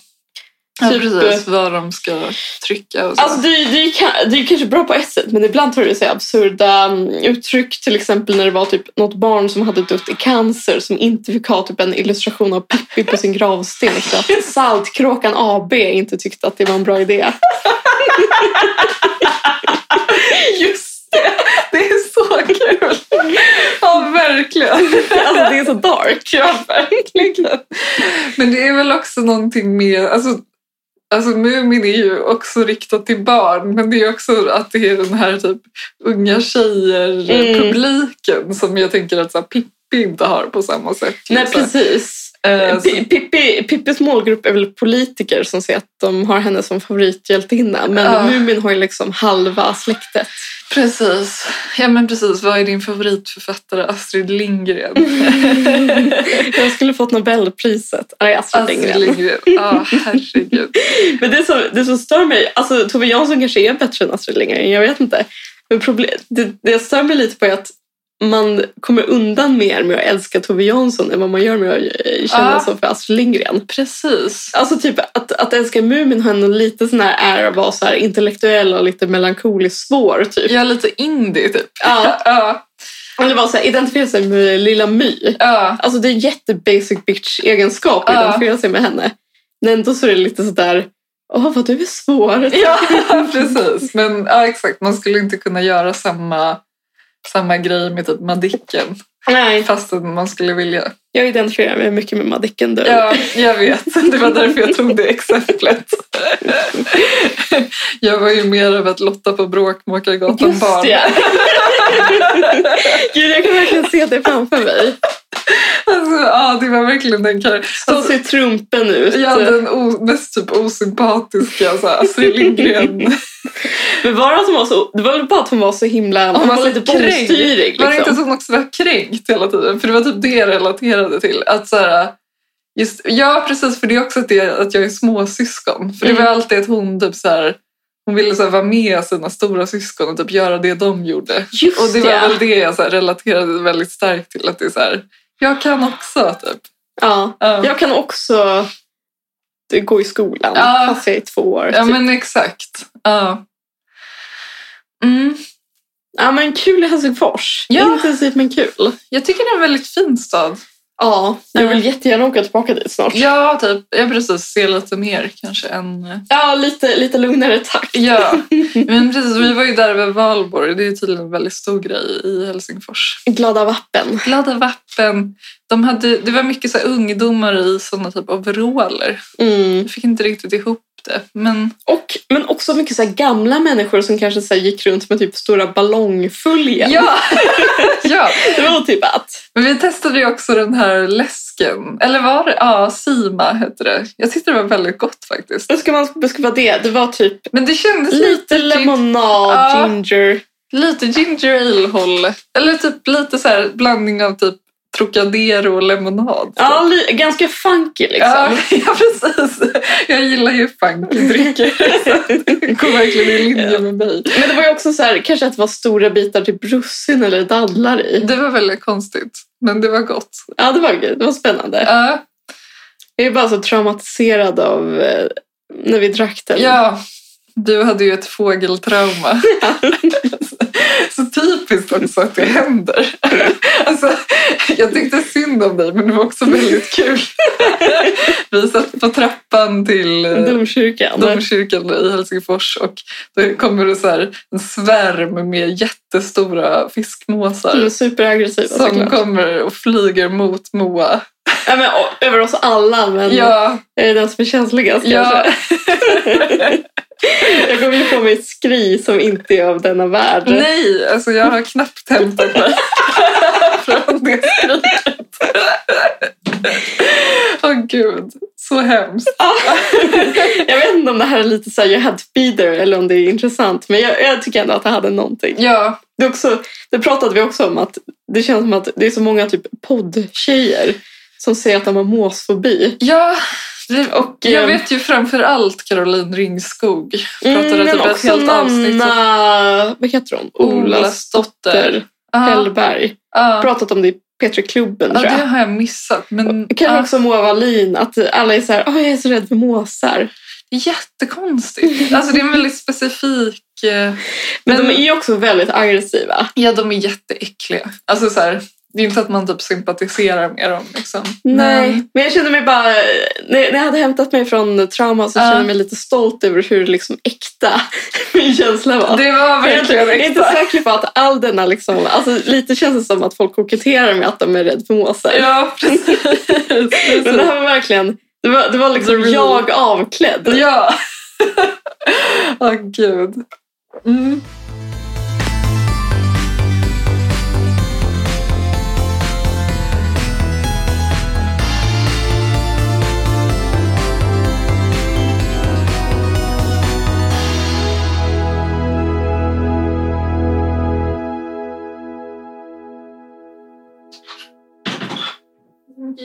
[SPEAKER 2] Typ,
[SPEAKER 3] precis. Vad de ska trycka och så.
[SPEAKER 2] Alltså det, det, är, ka- det är kanske bra på ett sätt, men ibland tar det sig absurda mm, uttryck. Till exempel när det var typ något barn som hade dött i cancer som inte fick ha typ en illustration av Pippi på sin gravsten. Så att Saltkråkan AB inte tyckte att det var en bra idé.
[SPEAKER 3] just det! Det är så kul! Ja, verkligen.
[SPEAKER 2] Alltså det är så dark.
[SPEAKER 3] Ja, verkligen. Men det är väl också någonting med... Alltså, alltså Mumin är ju också riktat till barn, men det är också att det är den här typ unga
[SPEAKER 2] Mm.
[SPEAKER 3] tjejer-publiken som jag tänker att så här, Pippi inte har på samma sätt.
[SPEAKER 2] Nej,
[SPEAKER 3] liksom.
[SPEAKER 2] precis.
[SPEAKER 3] Eh, så-
[SPEAKER 2] Pi- Pippi, Pippis målgrupp är väl politiker som säger att de har henne som favorithjältinna. Men
[SPEAKER 3] Ja.
[SPEAKER 2] Mumin har ju liksom halva släktet.
[SPEAKER 3] Precis. Ja, men precis. Vad är din favoritförfattare? Astrid Lindgren.
[SPEAKER 2] Jag skulle fått Nobelpriset. Nej, Astrid
[SPEAKER 3] Astrid
[SPEAKER 2] Lindgren.
[SPEAKER 3] Lindgren. Ja, herregud.
[SPEAKER 2] Men det som, det som stör mig, alltså Tove Jansson kanske är bättre än Astrid Lindgren, jag vet inte. Men problem, det, det jag stör mig lite på är att man kommer undan mer med att älska Tove Jansson än vad man gör med att eh, känna
[SPEAKER 3] Ja.
[SPEAKER 2] så för Astrid Lindgren.
[SPEAKER 3] Precis.
[SPEAKER 2] Alltså typ att, att älska Mumin har ändå lite sån här ära att vara så här intellektuell och lite melankoliskt svår typ.
[SPEAKER 3] Jag är lite indie, typ.
[SPEAKER 2] Ja.
[SPEAKER 3] Ja,
[SPEAKER 2] Eller bara så här, identifiera sig med Lilla My.
[SPEAKER 3] ja.
[SPEAKER 2] Alltså det är jättebasic bitch-egenskap att
[SPEAKER 3] Ja.
[SPEAKER 2] identifiera sig med henne. Men ändå så är det lite sådär, åh vad du är svår.
[SPEAKER 3] Ja, precis. Men ja, exakt. Man skulle inte kunna göra samma, samma grej med typ Madicken.
[SPEAKER 2] Nej,
[SPEAKER 3] Fast att man skulle vilja.
[SPEAKER 2] Jag identifierar mig mycket med Madicken du.
[SPEAKER 3] Ja, jag vet. Det var därför jag tog det exemplet. Jag var ju mer av ett Lotta på Bråkmakargatan barn.
[SPEAKER 2] Gud, jag kan verkligen se det framför mig.
[SPEAKER 3] Alltså, ja, det var verkligen den kar-
[SPEAKER 2] Så ser trumpen ut.
[SPEAKER 3] Alltså- Ja, den o- mest typ osympatiska så här, Astrid Lindgren.
[SPEAKER 2] Men var det, att hon var så, det var väl bara att hon var så himla... Hon,
[SPEAKER 3] var
[SPEAKER 2] var
[SPEAKER 3] så
[SPEAKER 2] lite
[SPEAKER 3] kränkt.
[SPEAKER 2] bångstyrig.
[SPEAKER 3] Var det inte
[SPEAKER 2] Liksom.
[SPEAKER 3] att hon också var kränkt hela tiden? För det var typ det jag relaterade till. Att så här, just, ja, precis. För det är också att, det, att jag är småsyskon. För det var
[SPEAKER 2] Mm.
[SPEAKER 3] alltid att hon typ så här, hon ville så här, vara med sina stora syskon och typ göra det de gjorde.
[SPEAKER 2] Just
[SPEAKER 3] Och det var
[SPEAKER 2] ja.
[SPEAKER 3] väl det jag så här, relaterade väldigt starkt till. Att det är så här, jag kan också typ.
[SPEAKER 2] Ja.
[SPEAKER 3] Ja,
[SPEAKER 2] Jag kan också gå i skolan
[SPEAKER 3] Ja.
[SPEAKER 2] fast jag är två år.
[SPEAKER 3] ja
[SPEAKER 2] typ.
[SPEAKER 3] men exakt. Ja. Mm.
[SPEAKER 2] ja, men kul i Helsingfors.
[SPEAKER 3] Ja.
[SPEAKER 2] Intensivt men kul.
[SPEAKER 3] Jag tycker det är en väldigt fin stad.
[SPEAKER 2] Ja, jag
[SPEAKER 3] Mm.
[SPEAKER 2] vill jättegärna åka tillbaka dit snart.
[SPEAKER 3] Ja, typ. Jag precis ser lite mer kanske än... eh,
[SPEAKER 2] Ja, lite, lite lugnare takt.
[SPEAKER 3] Ja, men precis. Vi var ju där vid Valborg. Det är tydligen en väldigt stor grej i Helsingfors.
[SPEAKER 2] Glada vappen.
[SPEAKER 3] Glada vappen. De hade, det var mycket så här ungdomar i sådana typ overaller.
[SPEAKER 2] Mm.
[SPEAKER 3] Jag fick inte riktigt ihop det. Men
[SPEAKER 2] Och, men också mycket så här gamla människor som kanske så här gick runt med typ stora ballongföljen.
[SPEAKER 3] ja! ja.
[SPEAKER 2] Det var typ att...
[SPEAKER 3] Men vi testade ju också den här läsken. Eller var det? Ja, Sima hette det. Jag tyckte det var väldigt gott faktiskt.
[SPEAKER 2] Hur ska man beskriva det? Det var typ
[SPEAKER 3] Men det kändes
[SPEAKER 2] lite lemonad,
[SPEAKER 3] Ja.
[SPEAKER 2] ginger.
[SPEAKER 3] lite ginger ale-hållet. Eller typ lite så här blandning av typ Trocadero och lemonad.
[SPEAKER 2] Ja, li- ganska funky liksom.
[SPEAKER 3] Typ. Ja, ja, precis. Jag gillar ju funkydrycker. Det går verkligen i linje med mig.
[SPEAKER 2] Men det var ju också så här, kanske att det var stora bitar typ russin eller dadlar i.
[SPEAKER 3] Det var väldigt konstigt, men det var gott.
[SPEAKER 2] Ja, det var, det var spännande.
[SPEAKER 3] Ja,
[SPEAKER 2] Jag är bara så traumatiserad av eh, när vi drack den.
[SPEAKER 3] ja, du hade ju ett fågeltrauma. Så typiskt också att det händer. Alltså, jag tyckte synd om dig, men det var också väldigt kul. Vi satt på trappan till eh,
[SPEAKER 2] Domkyrkan.
[SPEAKER 3] domkyrkan i Helsingfors och då kommer det så här en svärm med jättestora fiskmåsar.
[SPEAKER 2] De är superaggressiva
[SPEAKER 3] som
[SPEAKER 2] såklart.
[SPEAKER 3] kommer och flyger mot Moa.
[SPEAKER 2] Ja, men, o- över oss alla, men
[SPEAKER 3] Ja,
[SPEAKER 2] jag är den som är känsligast kanske.
[SPEAKER 3] ja,
[SPEAKER 2] Jag kom ju på mig ett skri som inte är av denna värld.
[SPEAKER 3] nej, alltså jag har knappt hämtat mig från det skriket. Åh gud, så hemskt.
[SPEAKER 2] Ja. jag vet inte om det här är lite så här, jag had feeder eller om det är intressant. Men jag, jag tycker ändå att det hade någonting.
[SPEAKER 3] Ja,
[SPEAKER 2] Det, är också, det pratade vi också om att det känns som att det är så många typ poddtjejer som säger att de har måsfobi.
[SPEAKER 3] Ja, det,
[SPEAKER 2] Och,
[SPEAKER 3] jag
[SPEAKER 2] ehm,
[SPEAKER 3] vet ju framför allt Caroline Ringskog. Pratade
[SPEAKER 2] Mm, men
[SPEAKER 3] typ ett
[SPEAKER 2] också
[SPEAKER 3] helt avsnitt om
[SPEAKER 2] Nanna, vad heter hon? Olas
[SPEAKER 3] Olasdotter.
[SPEAKER 2] dotter
[SPEAKER 3] Ja,
[SPEAKER 2] Hellberg.
[SPEAKER 3] ja.
[SPEAKER 2] Pratat om det i P3-klubben
[SPEAKER 3] Ja,
[SPEAKER 2] tror
[SPEAKER 3] det
[SPEAKER 2] jag.
[SPEAKER 3] har jag missat. Men
[SPEAKER 2] Kanske
[SPEAKER 3] ja,
[SPEAKER 2] också Moa Wallin, att alla är så här, "Åh, jag är så rädd för måsar.
[SPEAKER 3] det är jättekonstigt. Alltså det är en väldigt specifik... eh,
[SPEAKER 2] Men,
[SPEAKER 3] Men-
[SPEAKER 2] de är ju också väldigt aggressiva.
[SPEAKER 3] Ja, de är jätteäckliga. Alltså så här, det är inte att man typ sympatiserar med dem. Liksom. Men,
[SPEAKER 2] Men, men jag kände mig bara, när när jag hade hämtat mig från trauma så
[SPEAKER 3] Ja.
[SPEAKER 2] kände jag mig lite stolt över hur liksom äkta min känsla var.
[SPEAKER 3] det var verkligen
[SPEAKER 2] jag är inte
[SPEAKER 3] äkta.
[SPEAKER 2] säker på att all denna liksom, alltså lite känns det som att folk koketterar med att de är rädda för måsar.
[SPEAKER 3] Ja, precis. precis.
[SPEAKER 2] Men det här var verkligen, det var, det var liksom
[SPEAKER 3] The real.
[SPEAKER 2] jag avklädd.
[SPEAKER 3] Ja. Åh gud. Mm.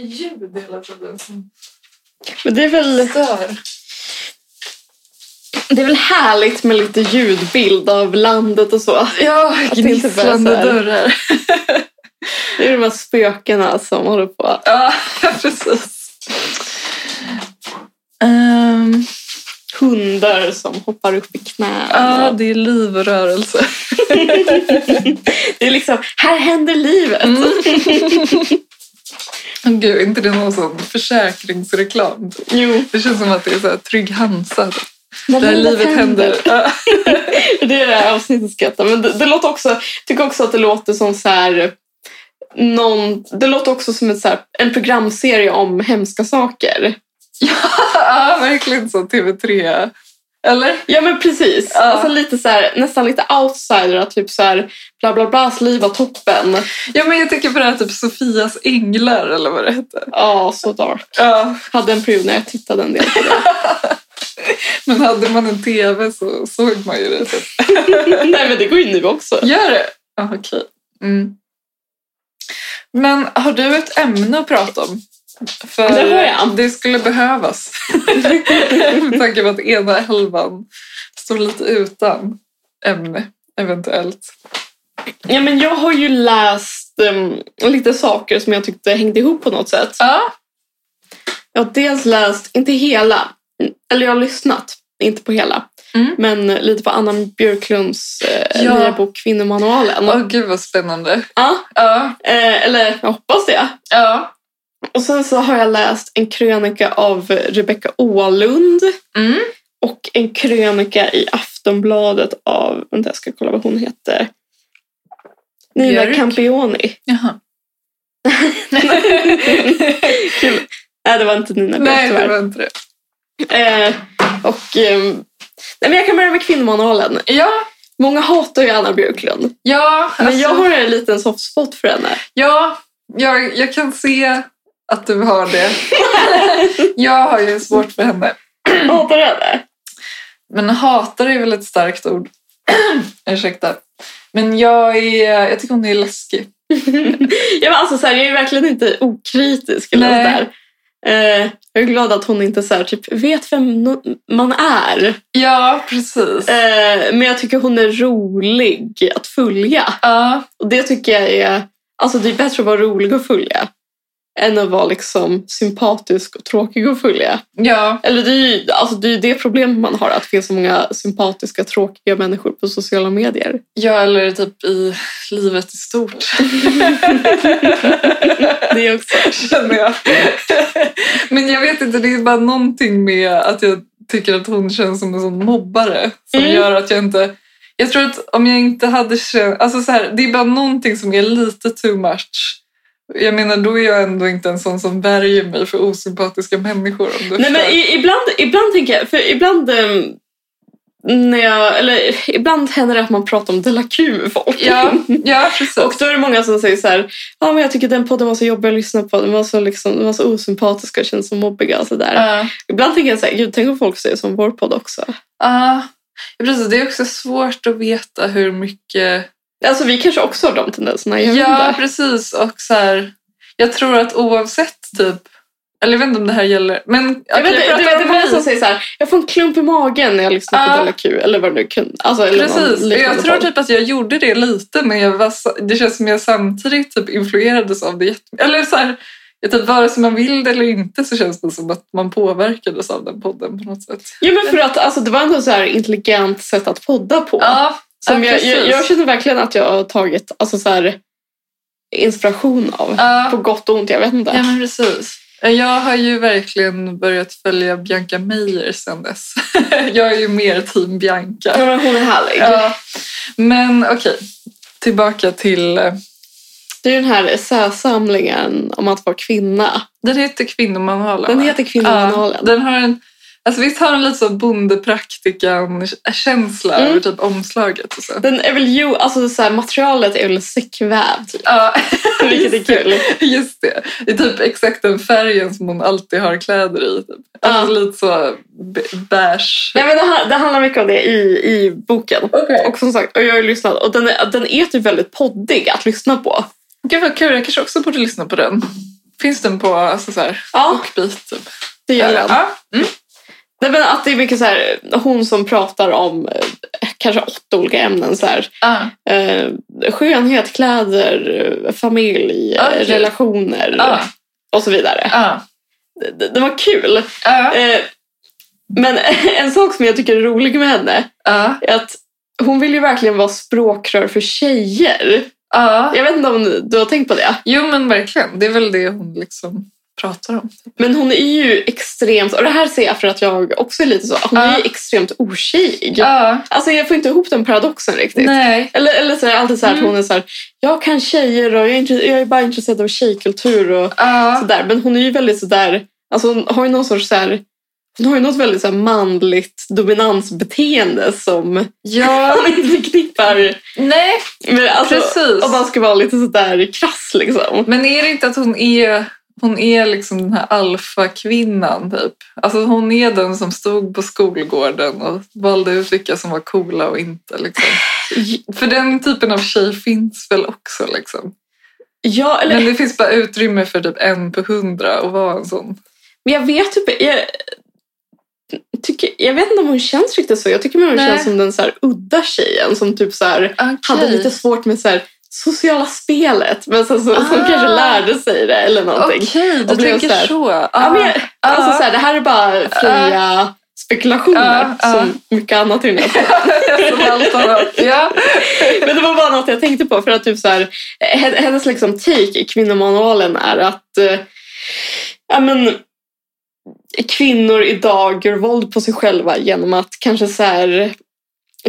[SPEAKER 3] ljud hela tiden som
[SPEAKER 2] Men det är, väl,
[SPEAKER 3] stör.
[SPEAKER 2] det är väl härligt med lite ljudbild av landet och så.
[SPEAKER 3] Ja,
[SPEAKER 2] det inte
[SPEAKER 3] gnisslande
[SPEAKER 2] bara så här-
[SPEAKER 3] dörrar.
[SPEAKER 2] Det är de här spökena som håller på.
[SPEAKER 3] Ja, precis. Ehm,
[SPEAKER 2] Hundar som hoppar upp i knäna.
[SPEAKER 3] ja, det är liv och rörelse.
[SPEAKER 2] Det är liksom, här händer livet.
[SPEAKER 3] Åh, Gud, är inte det någon sån försäkringsreklam?
[SPEAKER 2] Jo,
[SPEAKER 3] Det känns som att det är så här Trygg Hansa.
[SPEAKER 2] när
[SPEAKER 3] Där livet händer. Ja.
[SPEAKER 2] Det är det här avsnittet skrattar. Men det, det låter också, jag tycker också att det låter som så här, någon, det låter också som ett, så här, en programserie om hemska saker.
[SPEAKER 3] Ja, verkligen så TV3. Eller?
[SPEAKER 2] Ja men precis.
[SPEAKER 3] Ja.
[SPEAKER 2] Alltså lite så här, nästan lite outsider. Typ så här, bla bla blas liv var toppen.
[SPEAKER 3] Ja, men jag tänker på det här typ Sofias änglar eller vad det heter.
[SPEAKER 2] Ja, så dark.
[SPEAKER 3] Ja,
[SPEAKER 2] Hade en period när jag tittade en del på det.
[SPEAKER 3] men hade man en TV så såg man ju det. Typ.
[SPEAKER 2] Nej men det går ju nu också.
[SPEAKER 3] Gör det? Ja, okej. Mm. Men har du ett ämne att prata om? För
[SPEAKER 2] Det har jag.
[SPEAKER 3] Det skulle behövas. Med tanke på att ena halvan står lite utan ämne, eventuellt.
[SPEAKER 2] Ja men jag har ju läst em, lite saker som jag tyckte hängde ihop på något sätt.
[SPEAKER 3] Ja.
[SPEAKER 2] Jag har dels läst, inte hela, eller jag har lyssnat, inte på hela.
[SPEAKER 3] Mm.
[SPEAKER 2] Men lite på Anna Björklunds eh,
[SPEAKER 3] Ja.
[SPEAKER 2] nya bok Kvinnomanualen.
[SPEAKER 3] Åh, gud vad spännande.
[SPEAKER 2] Ja,
[SPEAKER 3] Ja.
[SPEAKER 2] eh, eller jag hoppas det.
[SPEAKER 3] Ja.
[SPEAKER 2] Och sen så har jag läst en krönika av Rebecca Åhlund
[SPEAKER 3] Mm.
[SPEAKER 2] och en krönika i Aftonbladet av, vänta jag ska kolla vad hon heter, Nina
[SPEAKER 3] Björk?
[SPEAKER 2] Campioni.
[SPEAKER 3] Jaha.
[SPEAKER 2] Kul. Nej, det var inte Nina Björk
[SPEAKER 3] Nej, det
[SPEAKER 2] tyvärr.
[SPEAKER 3] var inte det.
[SPEAKER 2] Eh, och, ehm, nej, men jag kan börja med Kvinnomanualen.
[SPEAKER 3] Ja.
[SPEAKER 2] Många hatar ju Anna Björklund,
[SPEAKER 3] Ja,
[SPEAKER 2] men
[SPEAKER 3] alltså-
[SPEAKER 2] jag har en liten soft spot för henne.
[SPEAKER 3] Ja, jag, jag kan se att du har det. jag har ju svårt för henne. Mm.
[SPEAKER 2] Hatar du henne?
[SPEAKER 3] Men hatar är väl ett starkt ord. Ursäkta. Men jag, är, jag tycker hon är läskig.
[SPEAKER 2] ja, men alltså, så här, jag är verkligen inte okritisk. Eller
[SPEAKER 3] Nej.
[SPEAKER 2] sådär. Eh, jag är glad att hon inte så här, typ, vet vem no- man är.
[SPEAKER 3] Ja, precis.
[SPEAKER 2] Eh, men jag tycker hon är rolig att följa.
[SPEAKER 3] Ja,
[SPEAKER 2] Och det tycker jag är... Alltså det är bättre att vara rolig att följa än att vara liksom sympatisk och tråkig att följa.
[SPEAKER 3] ja,
[SPEAKER 2] Eller det är ju alltså det, är ju det problemet man har, att det finns så många sympatiska, tråkiga människor på sociala medier.
[SPEAKER 3] ja, eller typ i livet i stort.
[SPEAKER 2] Det är också...
[SPEAKER 3] Känner jag. Men jag vet inte, det är bara någonting med att jag tycker att hon känns som en sån mobbare som
[SPEAKER 2] Mm.
[SPEAKER 3] gör att jag inte... Jag tror att om jag inte hade känt... Alltså så här, det är bara någonting som är lite too much. Jag menar, då är jag ändå inte en sån som värjer mig för osympatiska människor. Om du
[SPEAKER 2] Nej men
[SPEAKER 3] förstår.
[SPEAKER 2] i, ibland, ibland tänker jag, för ibland... ehm, när jag, eller ibland händer det att man pratar om Della Q folk.
[SPEAKER 3] Ja, ja precis.
[SPEAKER 2] Och då är det många som säger så här, ja men jag tycker den podden var så jobbig att lyssna på, den var så, liksom, den var så osympatisk och känns så mobbiga och sådär.
[SPEAKER 3] Ja.
[SPEAKER 2] Ibland tänker jag så här, gud tänk om folk säger som vår podd också.
[SPEAKER 3] Ja, precis. Det är också svårt att veta hur mycket
[SPEAKER 2] Alltså vi kanske också har de tendenserna, jag vet
[SPEAKER 3] Ja,
[SPEAKER 2] inte.
[SPEAKER 3] precis. Och så här, jag tror att oavsett typ... Eller jag vet inte om det här gäller. Men
[SPEAKER 2] Jag vet, inte,
[SPEAKER 3] okej, jag
[SPEAKER 2] du vet
[SPEAKER 3] pratar om
[SPEAKER 2] inte vem
[SPEAKER 3] mig.
[SPEAKER 2] som säger så här, jag får en klump i magen när jag lyssnar på
[SPEAKER 3] Ja.
[SPEAKER 2] Della Q eller vad det nu kunde. Alltså, eller någon
[SPEAKER 3] Precis.
[SPEAKER 2] liknande
[SPEAKER 3] Jag tror
[SPEAKER 2] podd.
[SPEAKER 3] typ att jag gjorde det lite, men jag var, så- det känns som jag samtidigt typ influerades av det jättemycket. Eller så här, jag typ, vare sig man vill det eller inte så känns det som att man påverkades av den podden på något sätt.
[SPEAKER 2] Ja, men för att alltså, det var ändå så här intelligent sätt att podda på.
[SPEAKER 3] Ja,
[SPEAKER 2] som jag,
[SPEAKER 3] precis.
[SPEAKER 2] jag, jag känner verkligen att jag har tagit alltså, så här, inspiration av.
[SPEAKER 3] ja.
[SPEAKER 2] På gott och ont, jag vet inte.
[SPEAKER 3] ja men precis. Jag har ju verkligen börjat följa Bianca Meijer sedan dess. jag är ju mer team Bianca.
[SPEAKER 2] Ja, men hon är härlig.
[SPEAKER 3] Ja. Men okej, tillbaka till... eh,
[SPEAKER 2] Det är ju den här essäsamlingen om att vara kvinna.
[SPEAKER 3] Den heter Kvinnomanualen.
[SPEAKER 2] Den
[SPEAKER 3] va?
[SPEAKER 2] heter Kvinnomanualen.
[SPEAKER 3] den har en, alltså visst har den lite så bondepraktikan-känsla
[SPEAKER 2] Mm.
[SPEAKER 3] över typ omslaget och så.
[SPEAKER 2] Den är väl ju, alltså så här, materialet är väl säckvävt, typ,
[SPEAKER 3] Ja,
[SPEAKER 2] vilket är kul.
[SPEAKER 3] just det. Det är typ exakt den färgen som hon alltid har kläder i. Typ. Alltså lite så b- beige.
[SPEAKER 2] Nej, men det, här, det handlar mycket om det i, i boken.
[SPEAKER 3] Okej.
[SPEAKER 2] Och som sagt, och jag har ju lyssnat och den är, den är typ väldigt poddig att lyssna på.
[SPEAKER 3] Gud vad kul, jag kanske också borde lyssna på den. Finns den på alltså så här,
[SPEAKER 2] Ja,
[SPEAKER 3] Bookbeat? Typ.
[SPEAKER 2] det gör
[SPEAKER 3] Eller-
[SPEAKER 2] den.
[SPEAKER 3] ja.
[SPEAKER 2] Nej, men att det är mycket så här, hon som pratar om eh, kanske åtta olika ämnen. Så här,
[SPEAKER 3] Ja.
[SPEAKER 2] eh, skönhet, kläder, eh, familj, eh,
[SPEAKER 3] Okej.
[SPEAKER 2] relationer
[SPEAKER 3] Ja.
[SPEAKER 2] och så vidare.
[SPEAKER 3] Ja.
[SPEAKER 2] Det, det var kul.
[SPEAKER 3] Ja.
[SPEAKER 2] Eh, men en sak som jag tycker är rolig med henne
[SPEAKER 3] Ja.
[SPEAKER 2] är att hon vill ju verkligen vara språkrör för tjejer.
[SPEAKER 3] Ja.
[SPEAKER 2] Jag vet inte om du har tänkt på det.
[SPEAKER 3] Jo men verkligen, det är väl det hon liksom pratar om.
[SPEAKER 2] Men hon är ju extremt, och det här ser jag för att jag också är lite så, hon är ju
[SPEAKER 3] Ja.
[SPEAKER 2] extremt otjejig.
[SPEAKER 3] Ja.
[SPEAKER 2] Alltså jag får inte ihop den paradoxen riktigt.
[SPEAKER 3] Nej.
[SPEAKER 2] Eller, eller så är det alltid så här
[SPEAKER 3] Mm.
[SPEAKER 2] att hon är så här, jag kan tjejer och jag är, intre- jag är bara intresserad av tjejkultur och
[SPEAKER 3] Ja.
[SPEAKER 2] sådär. Men hon är ju väldigt sådär, alltså hon har ju någon sorts så här, hon har ju något väldigt så här manligt dominansbeteende som
[SPEAKER 3] Ja,
[SPEAKER 2] man inte förknippar
[SPEAKER 3] nej,
[SPEAKER 2] med, alltså,
[SPEAKER 3] precis.
[SPEAKER 2] om man ska vara lite sådär krass liksom.
[SPEAKER 3] Men är det inte att hon är, hon är liksom den här alfakvinnan typ? Alltså hon är den som stod på skolgården och valde ut vilka som var coola och inte liksom. För den typen av tjej finns väl också liksom.
[SPEAKER 2] Ja, eller
[SPEAKER 3] Men det finns bara utrymme för typ en på hundra att vara en sån.
[SPEAKER 2] Men jag vet typ... Jag, tycker, jag vet inte om hon känns riktigt så. Jag tycker mer hon
[SPEAKER 3] Nej.
[SPEAKER 2] känns som den så här udda tjejen som typ så här, hade lite svårt med så här, sociala spelet. Men sen så, som
[SPEAKER 3] Ah.
[SPEAKER 2] kanske lärde sig det eller någonting.
[SPEAKER 3] Okej, du
[SPEAKER 2] Och blev
[SPEAKER 3] tänker
[SPEAKER 2] så här-
[SPEAKER 3] så. Ja,
[SPEAKER 2] Ja, men jag,
[SPEAKER 3] ah.
[SPEAKER 2] alltså, så här, det här är bara fria spekulationer
[SPEAKER 3] Ah, ah.
[SPEAKER 2] som mycket annat i den här podden.
[SPEAKER 3] Som allt annat. ja.
[SPEAKER 2] Men det var bara något jag tänkte på. För att typ så här, hen- hennes liksom take i kvinnomanualen är att eh, ja, men, kvinnor idag gör våld på sig själva genom att kanske så här,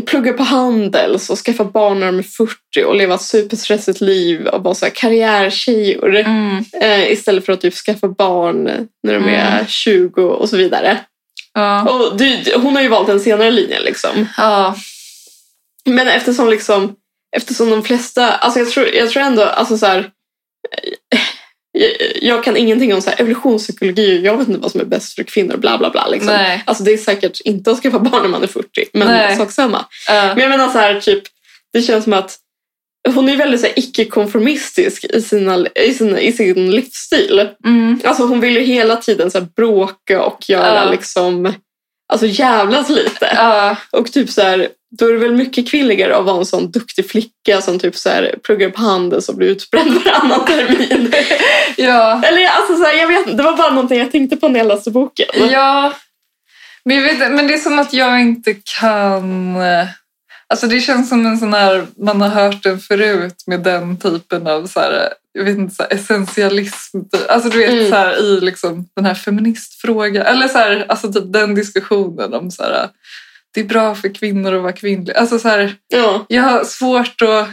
[SPEAKER 2] plugga på Handels och skaffa barn när de är 40 och leva ett superstressigt liv och vara så här karriärtjejor
[SPEAKER 3] Mm.
[SPEAKER 2] eh, istället för att typ skaffa barn när de är
[SPEAKER 3] Mm.
[SPEAKER 2] 20 och så vidare.
[SPEAKER 3] Ja.
[SPEAKER 2] Och det, hon har ju valt en senare linje liksom.
[SPEAKER 3] Ja.
[SPEAKER 2] Men eftersom liksom, eftersom de flesta, alltså jag tror, jag tror ändå, alltså så här, eh, jag, jag kan ingenting om så här evolutionspsykologi och jag vet inte vad som är bäst för kvinnor, bla bla bla. Liksom.
[SPEAKER 3] Nej.
[SPEAKER 2] Alltså det är säkert inte att skaffa barn när man är 40, men
[SPEAKER 3] Nej.
[SPEAKER 2] sak samma.
[SPEAKER 3] Ja.
[SPEAKER 2] Men jag menar så här, typ, det känns som att hon är väldigt så här icke-konformistisk i, sina, i, sin, i sin livsstil.
[SPEAKER 3] Mm.
[SPEAKER 2] Alltså hon vill ju hela tiden så här bråka och göra
[SPEAKER 3] Ja.
[SPEAKER 2] liksom, alltså jävlas lite.
[SPEAKER 3] Ja.
[SPEAKER 2] Och typ så här, då är det väl mycket kvinnligare att vara en sån duktig flicka som typ så här, pluggar på Handels och blir utbränd varannan termin.
[SPEAKER 3] ja.
[SPEAKER 2] Eller alltså så här, jag vet inte, det var bara någonting jag tänkte på när jag läste boken.
[SPEAKER 3] Ja, men, jag vet, men det är som att jag inte kan... eh, Alltså det känns som en sån här, man har hört den förut med den typen av så här, jag vet inte, så här, essentialism. Alltså du vet
[SPEAKER 2] Mm.
[SPEAKER 3] så här, i liksom den här feministfrågan, eller så här, alltså typ den diskussionen om så här, det är bra för kvinnor att vara kvinnlig. Alltså så här,
[SPEAKER 2] Ja.
[SPEAKER 3] jag har svårt att...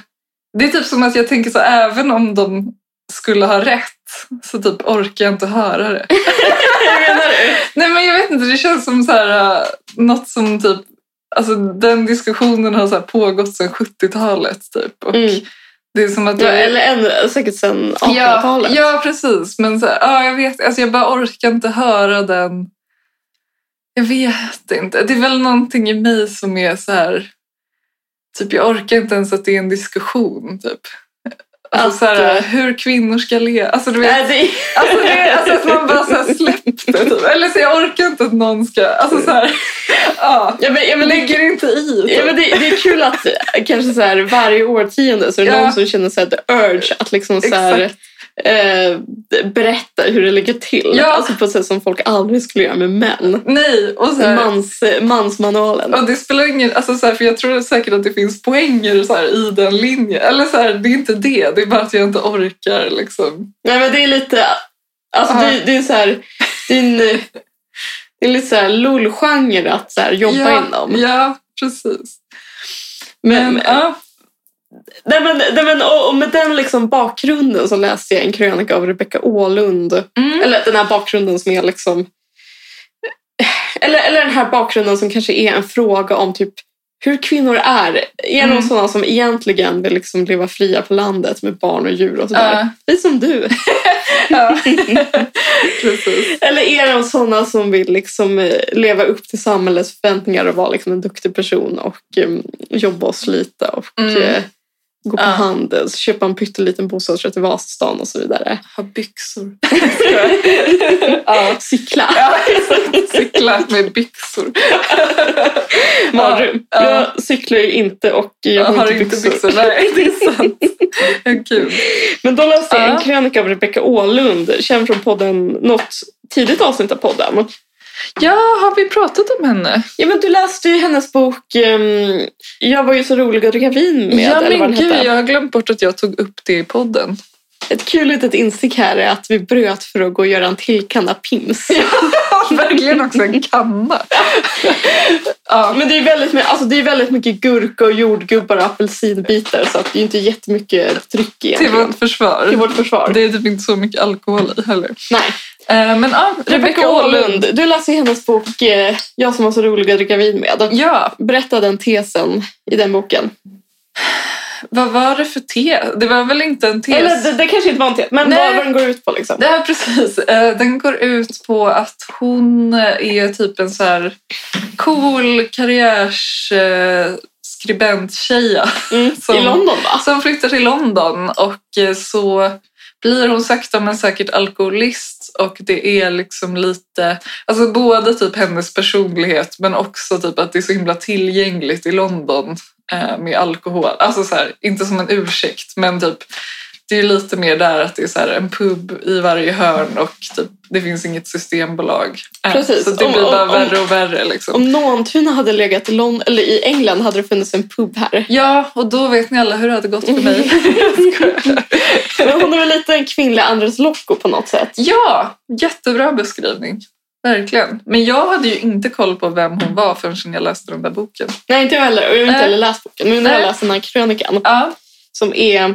[SPEAKER 3] Det är typ som att jag tänker så här, även om de skulle ha rätt så typ orkar jag inte höra det.
[SPEAKER 2] Jag menar det.
[SPEAKER 3] Nej men jag vet inte, det känns som så här, äh, något som typ, alltså den diskussionen har så här pågått sedan 70-talet typ. Och
[SPEAKER 2] Mm.
[SPEAKER 3] Det är som att
[SPEAKER 2] Ja,
[SPEAKER 3] jag...
[SPEAKER 2] eller ännu, säkert sen 1800-talet.
[SPEAKER 3] ja, ja precis, men så här, ja, jag vet, alltså jag bara orkar inte höra den. Jag vet inte, det är väl någonting i mig som är så här, typ jag orkar inte ens att det är en diskussion typ. Alltså,
[SPEAKER 2] Att,
[SPEAKER 3] så här,
[SPEAKER 2] eh,
[SPEAKER 3] hur kvinnor ska le. Alltså, du vet,
[SPEAKER 2] Nej, det,
[SPEAKER 3] alltså, det, alltså att man bara så här, släpp det. Typ. Eller så jag orkar inte att någon ska... Alltså så här, ja.
[SPEAKER 2] ja, men, ja, men, det,
[SPEAKER 3] Lägger inte i. Typ.
[SPEAKER 2] ja, men det, det är kul att eh, kanske så här, varje årtionde så är det
[SPEAKER 3] Ja.
[SPEAKER 2] någon som känner så här, the urge att liksom så här, eh, berätta hur det ligger till.
[SPEAKER 3] Ja.
[SPEAKER 2] Alltså på ett sätt som folk aldrig skulle göra med män.
[SPEAKER 3] Nej, och så här,
[SPEAKER 2] Mans, mansmanualen.
[SPEAKER 3] Äh, Och det spelar ingen... Alltså så här, för jag tror säkert att det finns poänger så här, i den linjen. Eller så här, det är inte det. Det är bara att jag inte orkar liksom.
[SPEAKER 2] Nej men det är lite, alltså
[SPEAKER 3] Ja.
[SPEAKER 2] det, det är så här, det är en, det är lite så här lull-genre att så här jobba
[SPEAKER 3] ja,
[SPEAKER 2] inom.
[SPEAKER 3] Ja, precis.
[SPEAKER 2] Men, eh,
[SPEAKER 3] Men, ja.
[SPEAKER 2] nej, men, nej, men, och, och med den liksom bakgrunden så läste jag en krönika av Rebecca Åhlund.
[SPEAKER 3] Mm.
[SPEAKER 2] Eller den här bakgrunden som är liksom, eller, eller den här bakgrunden som kanske är en fråga om typ hur kvinnor är. Är
[SPEAKER 3] Mm.
[SPEAKER 2] de sådana som egentligen vill liksom leva fria på landet med barn och djur och sådär?
[SPEAKER 3] Ja,
[SPEAKER 2] Det är som du.
[SPEAKER 3] ja. precis.
[SPEAKER 2] Eller är de sådana som vill liksom eh, leva upp till samhällets förväntningar och vara liksom en duktig person och eh, jobba och slita och
[SPEAKER 3] Mm.
[SPEAKER 2] eh, gå på
[SPEAKER 3] Ja.
[SPEAKER 2] Handels, köpa en pytteliten bostadsrätt i Vasastan och så vidare.
[SPEAKER 3] Ha byxor.
[SPEAKER 2] Ja. Cykla.
[SPEAKER 3] Ja, exakt. Cykla med byxor.
[SPEAKER 2] Mardröm.
[SPEAKER 3] Ja.
[SPEAKER 2] Jag cyklar ju inte och jag
[SPEAKER 3] Jag
[SPEAKER 2] har,
[SPEAKER 3] har
[SPEAKER 2] inte byxor.
[SPEAKER 3] Nej, det är sant. Ja, gud.
[SPEAKER 2] Men då läste jag
[SPEAKER 3] Ja.
[SPEAKER 2] en krönika av Rebecca Åhlund, känd från podden, något tidigt avsnitt av podden.
[SPEAKER 3] Ja, har vi pratat om henne?
[SPEAKER 2] Ja, men du läste ju hennes bok ehm, Jag var ju så rolig att dricka vin med.
[SPEAKER 3] ja,
[SPEAKER 2] eller vad
[SPEAKER 3] men
[SPEAKER 2] den
[SPEAKER 3] gud,
[SPEAKER 2] hette.
[SPEAKER 3] jag har glömt bort att jag tog upp det i podden.
[SPEAKER 2] Ett kul litet instick här är att vi bröt för att gå och göra en till kanna pims.
[SPEAKER 3] Verkligen också en kanna. ja.
[SPEAKER 2] Men det är, väldigt, my- alltså det är väldigt mycket gurka och jordgubbar och apelsinbitar så att det är inte jättemycket dryck
[SPEAKER 3] Till
[SPEAKER 2] egentligen.
[SPEAKER 3] vårt försvar.
[SPEAKER 2] Till vårt försvar.
[SPEAKER 3] Det är typ inte så mycket alkohol i heller.
[SPEAKER 2] Nej.
[SPEAKER 3] Eh, men ja,
[SPEAKER 2] Rebecca Åhlund, du läste ju hennes bok eh, Jag som var så rolig att dricka vin med.
[SPEAKER 3] Ja,
[SPEAKER 2] Berätta den tesen i den boken.
[SPEAKER 3] vad var det för te? Det var väl inte en tes?
[SPEAKER 2] Eller det, det kanske inte var en tes, men
[SPEAKER 3] Nej.
[SPEAKER 2] vad, vad den går ut på liksom.
[SPEAKER 3] Det här precis. Eh, Den går ut på att hon är typ en så här cool eh, karriärsskribent-tjeja.
[SPEAKER 2] Mm.
[SPEAKER 3] som-
[SPEAKER 2] I London va?
[SPEAKER 3] Som flyttar till London och eh, så blir hon sakta men säkert alkoholist och det är liksom lite, alltså både typ hennes personlighet men också typ att det är så himla tillgängligt i London eh, med alkohol. Alltså så här, inte som en ursäkt men typ det är lite mer där att det är så här en pub i varje hörn och typ, det finns inget systembolag. Eh,
[SPEAKER 2] Precis.
[SPEAKER 3] Så det
[SPEAKER 2] Om-
[SPEAKER 3] blir bara
[SPEAKER 2] om- om-
[SPEAKER 3] värre och värre. Liksom.
[SPEAKER 2] Om Nåntuna hade legat i, Lon- eller i England hade det funnits en pub här.
[SPEAKER 3] Ja, och då vet ni alla hur det hade gått för mig.
[SPEAKER 2] Men hon är väl lite en kvinnlig Andres Locko på något sätt.
[SPEAKER 3] Ja, jättebra beskrivning. Verkligen. Men jag hade ju inte koll på vem hon var förrän jag läste den där boken.
[SPEAKER 2] Nej, inte jag heller. Och jag har inte
[SPEAKER 3] Nej.
[SPEAKER 2] heller läst boken. Men nu har jag
[SPEAKER 3] Nej.
[SPEAKER 2] läst den här krönikan
[SPEAKER 3] Ja,
[SPEAKER 2] som är...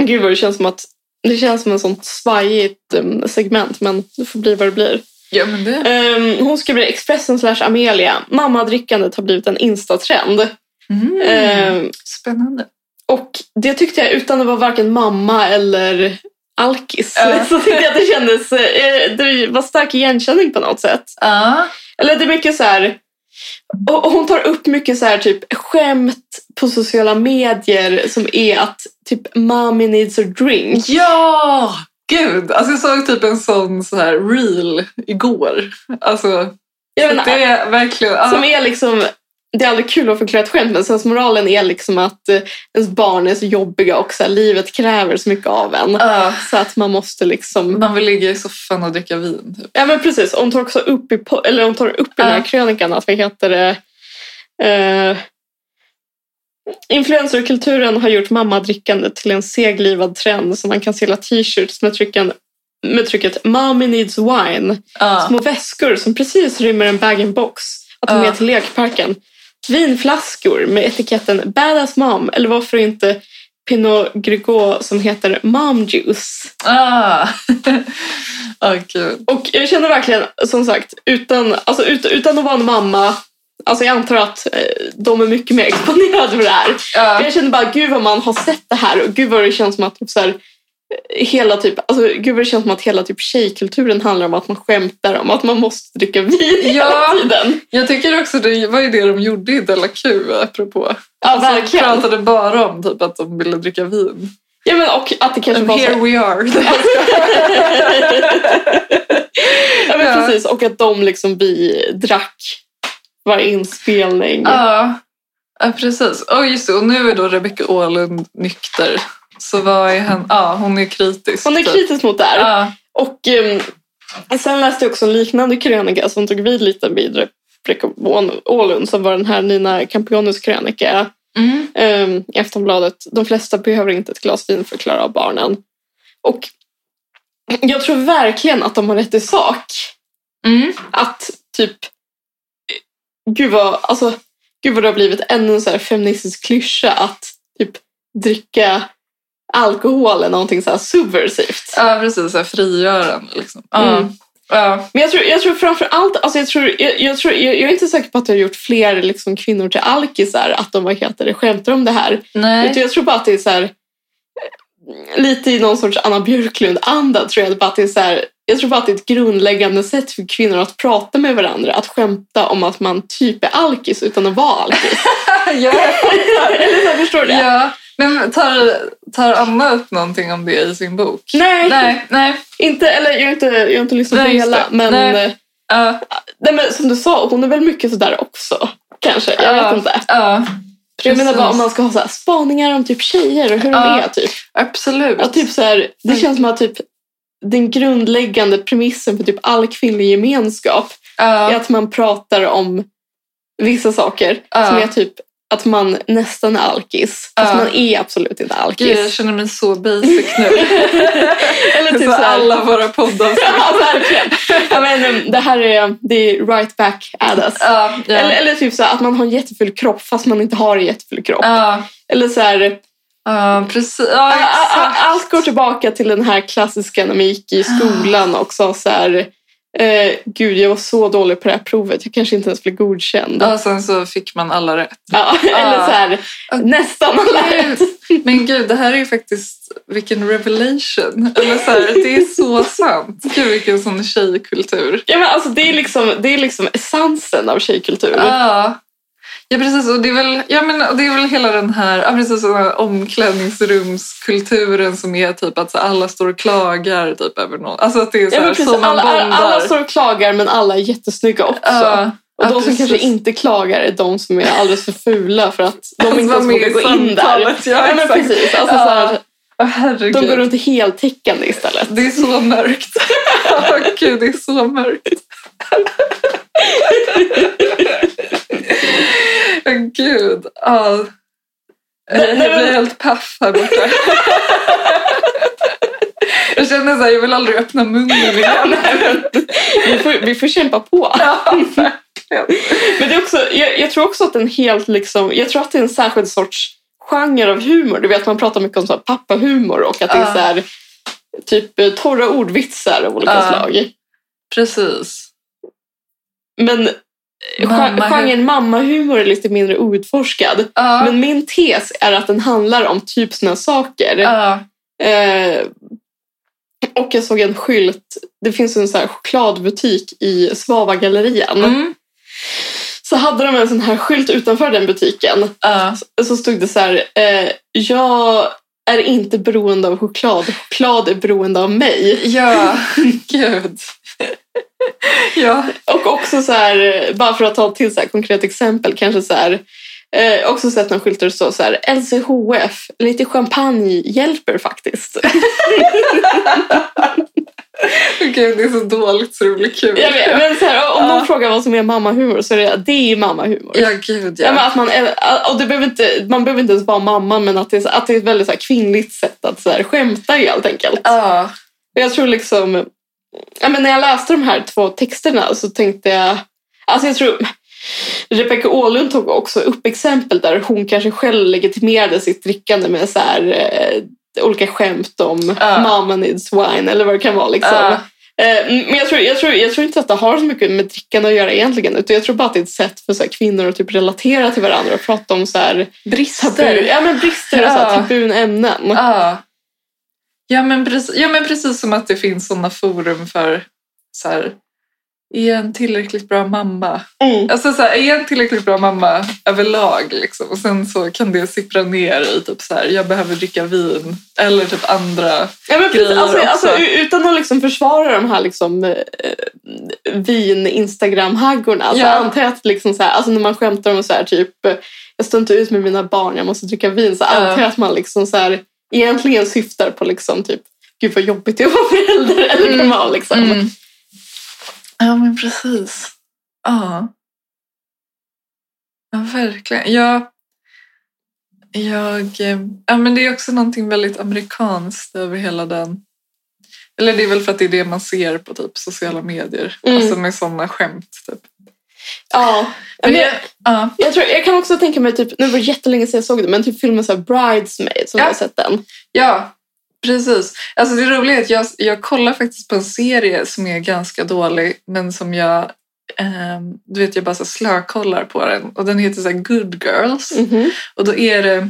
[SPEAKER 2] Gud vad det känns som att... Det känns som en sånt svajigt em, segment, men det får bli vad det blir.
[SPEAKER 3] ja men det...
[SPEAKER 2] Em, hon skriver i Expressen slash Amelia. Mammadrickandet har blivit en instatrend.
[SPEAKER 3] Mm.
[SPEAKER 2] Em,
[SPEAKER 3] Spännande.
[SPEAKER 2] och det tyckte jag utan att vara varken mamma eller alkis.
[SPEAKER 3] Ja.
[SPEAKER 2] Så tyckte jag att det kändes... eh, Det var stark igenkänning på något sätt.
[SPEAKER 3] Ja,
[SPEAKER 2] Eller det är mycket så här... Och och hon tar upp mycket så här typ skämt på sociala medier som är att typ mommy needs a drink.
[SPEAKER 3] ja! gud. Alltså jag såg typ en sån så här reel igår. Alltså,
[SPEAKER 2] Jag
[SPEAKER 3] så
[SPEAKER 2] menar,
[SPEAKER 3] det är verkligen... Ja.
[SPEAKER 2] Som är liksom... Det är aldrig kul att förklara ett skämt men sensmoralen är liksom att eh, ens barn är så jobbiga och så här, livet kräver så mycket av en.
[SPEAKER 3] Ja,
[SPEAKER 2] Så att man måste liksom...
[SPEAKER 3] man vill ligga i soffan och dricka vin. Typ.
[SPEAKER 2] Ja men precis, hon tar också upp i, po- eller hon tar upp i den här
[SPEAKER 3] Ja.
[SPEAKER 2] krönikan att vad heter det... Eh, influencerkulturen har gjort mammadrickandet till en seglivad trend som man kan sälja t-shirts med, trycken, med trycket “Mommy needs wine”.
[SPEAKER 3] Ja.
[SPEAKER 2] Små väskor som precis rymmer en bag-in-box att ta
[SPEAKER 3] Ja.
[SPEAKER 2] med till lekparken. Vinflaskor med etiketten “Badass mom” eller varför inte Pinot Grigio som heter “Mom juice”.
[SPEAKER 3] Ah. Ja, gud.
[SPEAKER 2] Och jag känner verkligen, som sagt, utan, alltså, ut, utan att vara en mamma, alltså jag antar att eh, de är mycket mer exponerade för det här. Men
[SPEAKER 3] Ja.
[SPEAKER 2] Jag känner bara, gud vad man har sett det här och gud vad det känns som att typ, så här, eh, hela typ, alltså, gud vad det känns som att hela typ tjejkulturen handlar om att man skämtar om att man måste dricka vin
[SPEAKER 3] Ja.
[SPEAKER 2] hela tiden.
[SPEAKER 3] Jag tycker också det var ju det de gjorde i Della Q apropå.
[SPEAKER 2] Ja,
[SPEAKER 3] Alltså, de
[SPEAKER 2] verkligen.
[SPEAKER 3] pratade bara om typ, att de ville dricka vin.
[SPEAKER 2] Ja, men och att det kanske
[SPEAKER 3] And
[SPEAKER 2] var
[SPEAKER 3] here
[SPEAKER 2] så...
[SPEAKER 3] we are.
[SPEAKER 2] Ja, men
[SPEAKER 3] Ja.
[SPEAKER 2] precis. Och att de liksom vi drack varje inspelning.
[SPEAKER 3] ja. ja, precis. Och just det, och nu är då Rebecca Åhlund nykter. Så vad är hon? Ja, hon är kritisk.
[SPEAKER 2] Hon är
[SPEAKER 3] typ.
[SPEAKER 2] kritisk mot det här.
[SPEAKER 3] Ja,
[SPEAKER 2] Och ehm, sen läste jag också en liknande krönika som tog vid lite vid Rebecca Åhlund som var den här Nina Campionis krönika
[SPEAKER 3] mm.
[SPEAKER 2] ehm, i Aftonbladet. De flesta behöver inte ett glas vin för att klara av barnen. Och jag tror verkligen att de har rätt i sak.
[SPEAKER 3] Mm.
[SPEAKER 2] Att typ, gud vad, alltså, gud vad det har blivit ännu en så här feministisk klyscha att typ dricka alkohol är någonting så här subversivt.
[SPEAKER 3] ja precis. Så här frigörande. Liksom. Ja.
[SPEAKER 2] Mm.
[SPEAKER 3] Ja.
[SPEAKER 2] Men jag tror, jag tror framför allt, alltså jag, tror, jag, jag, tror, jag, jag är inte säker på att jag har gjort fler liksom, kvinnor till alkisar, att de vad heter det, skämtar om det här. Utan
[SPEAKER 3] Nej.
[SPEAKER 2] jag tror bara att det är så här, eh, lite i någon sorts Anna Björklund-anda tror jag. Bara att det är så här, jag tror bara att det är ett grundläggande sätt för kvinnor att prata med varandra, att skämta om att man typ är alkis utan att vara alkis.
[SPEAKER 3] Ja.
[SPEAKER 2] Eller så här, förstår du det?
[SPEAKER 3] Ja, men tar, tar Anna upp någonting om det i sin bok?
[SPEAKER 2] Nej,
[SPEAKER 3] Nej, nej.
[SPEAKER 2] Inte, eller jag har inte, jag har inte lyssnat på
[SPEAKER 3] Nej, just
[SPEAKER 2] hela.
[SPEAKER 3] det.
[SPEAKER 2] Men,
[SPEAKER 3] Nej.
[SPEAKER 2] eh,
[SPEAKER 3] Ja,
[SPEAKER 2] nej, men som du sa, hon är väl mycket sådär också. Kanske, jag
[SPEAKER 3] Ja.
[SPEAKER 2] vet inte.
[SPEAKER 3] ja,
[SPEAKER 2] Jag menar bara
[SPEAKER 3] Precis.
[SPEAKER 2] om man ska ha så här spaningar om typ tjejer och hur
[SPEAKER 3] Ja.
[SPEAKER 2] de är. Typ.
[SPEAKER 3] absolut.
[SPEAKER 2] Och typ så här, det känns som att typ, den grundläggande premissen för typ all kvinnlig gemenskap är
[SPEAKER 3] ja,
[SPEAKER 2] att man pratar om vissa saker
[SPEAKER 3] Ja.
[SPEAKER 2] som är typ att man nästan är alkis. Fast
[SPEAKER 3] Ja.
[SPEAKER 2] man är absolut inte alkis.
[SPEAKER 3] Gud, jag känner mig så basic nu.
[SPEAKER 2] Eller typ så
[SPEAKER 3] så
[SPEAKER 2] här,
[SPEAKER 3] alla våra poddar.
[SPEAKER 2] ja, verkligen. Ja, men, um, det här är, det är right back at us.
[SPEAKER 3] Ja, ja.
[SPEAKER 2] Eller, eller typ så här, att man har en jättefull kropp fast man inte har en jättefull kropp.
[SPEAKER 3] ja,
[SPEAKER 2] Eller så här,
[SPEAKER 3] ja, precis. Ja,
[SPEAKER 2] All- all-
[SPEAKER 3] exakt.
[SPEAKER 2] Allt går tillbaka till den här klassiska när man gick i skolan och sa så här eh, Gud, jag var så dålig på det här provet. Jag kanske inte ens blev godkänd.
[SPEAKER 3] Ja, sen så fick man alla rätt.
[SPEAKER 2] Ja, eller så här, nästan alla rätt.
[SPEAKER 3] Men gud, det här är ju faktiskt vilken revelation. Eller så här, det är så sant. Gud, vilken sån tjejkultur.
[SPEAKER 2] Ja, men alltså, det, är liksom, det är liksom essensen av tjejkultur.
[SPEAKER 3] Ja. Ja precis, och det är väl, ja, men, och det är väl hela den här, ja, precis, den här omklädningsrumskulturen som är typ att så alla står och klagar typ, över något. Alltså att det är så
[SPEAKER 2] ja,
[SPEAKER 3] här,
[SPEAKER 2] men precis,
[SPEAKER 3] som man
[SPEAKER 2] alla, alla,
[SPEAKER 3] bondar.
[SPEAKER 2] alla står och klagar men alla är jättesnygga också.
[SPEAKER 3] Ja,
[SPEAKER 2] och
[SPEAKER 3] ja,
[SPEAKER 2] de som
[SPEAKER 3] precis.
[SPEAKER 2] kanske inte klagar är de som är alldeles för fula för att de
[SPEAKER 3] Alltså,
[SPEAKER 2] inte ens
[SPEAKER 3] vara med
[SPEAKER 2] vågar
[SPEAKER 3] i
[SPEAKER 2] gå in där.
[SPEAKER 3] samtalet, ja,
[SPEAKER 2] men
[SPEAKER 3] exakt.
[SPEAKER 2] precis, alltså,
[SPEAKER 3] Ja.
[SPEAKER 2] så här,
[SPEAKER 3] Åh, herregud.
[SPEAKER 2] de går runt i heltäckande istället.
[SPEAKER 3] Det är så mörkt. Åh, Gud, det är så mörkt. Åh, Gud. Ja.
[SPEAKER 2] Nej, nej,
[SPEAKER 3] Jag blir
[SPEAKER 2] men-
[SPEAKER 3] helt paff här borta. Jag känner så här, jag vill aldrig öppna munnen igen.
[SPEAKER 2] vi, får, vi får kämpa på. Men det är också, jag, jag tror också att en helt liksom, jag tror att det är en särskild sorts genre av humor. Du vet man pratar mycket om så här pappahumor och att det
[SPEAKER 3] Ja.
[SPEAKER 2] är så här, typ eh, torra ordvitsar av olika
[SPEAKER 3] Ja.
[SPEAKER 2] slag.
[SPEAKER 3] Precis.
[SPEAKER 2] Men
[SPEAKER 3] Mamma-
[SPEAKER 2] mamma genren mammahumor är lite mindre outforskad.
[SPEAKER 3] Ja.
[SPEAKER 2] Men min tes är att den handlar om typ såna saker.
[SPEAKER 3] ja.
[SPEAKER 2] Eh, och jag såg en skylt, det finns en så här chokladbutik i Svavagallerian.
[SPEAKER 3] Mm.
[SPEAKER 2] så hade de en sån här skylt utanför den butiken.
[SPEAKER 3] Ja.
[SPEAKER 2] Så stod det så här, eh, jag är inte beroende av choklad, choklad är beroende av mig.
[SPEAKER 3] Ja, gud. Ja.
[SPEAKER 2] Och också så här, bara för att ta till så här konkret exempel, kanske så här, eh, också sett någon skylt där det står så här, LCHF, lite champagne hjälper faktiskt.
[SPEAKER 3] Gud, det är så dåligt så det blir kul.
[SPEAKER 2] Jag vet, men så här, om
[SPEAKER 3] Ja.
[SPEAKER 2] någon frågar vad som är mammahumor så är det, det är mammahumor.
[SPEAKER 3] Ja, gud ja.
[SPEAKER 2] Ja, men att man, är- och det behöver inte, man behöver inte ens vara mamma, men att det är, så- att det är ett väldigt så här kvinnligt sätt att så här skämta i helt enkelt.
[SPEAKER 3] Ja.
[SPEAKER 2] Och Jag tror liksom... Ja, men när jag läste de här två texterna så tänkte jag... Alltså jag tror... Rebecca Åhlund tog också upp exempel där hon kanske själv legitimerade sitt drickande med så här, eh, olika skämt om
[SPEAKER 3] Ja.
[SPEAKER 2] mamma needs wine eller vad det kan vara. Liksom.
[SPEAKER 3] Ja.
[SPEAKER 2] Eh, men jag tror, jag, tror, jag tror inte att det har så mycket med drickande att göra egentligen. Utan jag tror bara att det är ett sätt för så här, kvinnor att typ relatera till varandra och prata om så här, tabu,
[SPEAKER 3] Brister.
[SPEAKER 2] ja, men brister och så här,
[SPEAKER 3] Ja.
[SPEAKER 2] tabun ämnen.
[SPEAKER 3] Ja. Ja men, precis, ja, men precis som att det finns sådana forum för så här, Är jag en tillräckligt bra mamma?
[SPEAKER 2] Mm.
[SPEAKER 3] Alltså så här, är jag en tillräckligt bra mamma överlag? Liksom? Och sen så kan det sippra ner i typ så här, jag behöver dricka vin. Eller typ andra.
[SPEAKER 2] Ja, men precis,
[SPEAKER 3] grejer
[SPEAKER 2] alltså,
[SPEAKER 3] också.
[SPEAKER 2] alltså, u- utan att liksom försvara de här liksom, eh, vin-instagram-haggorna så
[SPEAKER 3] Ja.
[SPEAKER 2] antar jag att liksom så här, alltså, när man skämtar om så här, typ eh, jag står inte ut med mina barn, jag måste dricka vin så antar jag att man liksom så här, egentligen syftar på liksom, typ gud vad jobbigt det är att vara förälder eller
[SPEAKER 3] Mm.
[SPEAKER 2] normal. Liksom.
[SPEAKER 3] Ja, men precis. Ja. Ja, verkligen. Jag, jag, eh, ja, men det är också någonting väldigt amerikanskt över hela den. Eller det är väl för att det är det man ser på typ sociala medier.
[SPEAKER 2] Mm.
[SPEAKER 3] Alltså med sådana skämt. Typ.
[SPEAKER 2] Ja. Men jag,
[SPEAKER 3] ja.
[SPEAKER 2] jag, tror, jag kan också tänka mig, typ, nu var det jättelänge sedan jag såg det, men typ filmen så här, Bridesmaid, som
[SPEAKER 3] Ja.
[SPEAKER 2] jag har sett den.
[SPEAKER 3] Ja, precis. Alltså det roliga är att jag, jag kollar faktiskt på en serie som är ganska dålig men som jag ehm, du vet, jag bara så slökollar på den. Och den heter så här Good Girls.
[SPEAKER 2] Mhm.
[SPEAKER 3] Och då är det,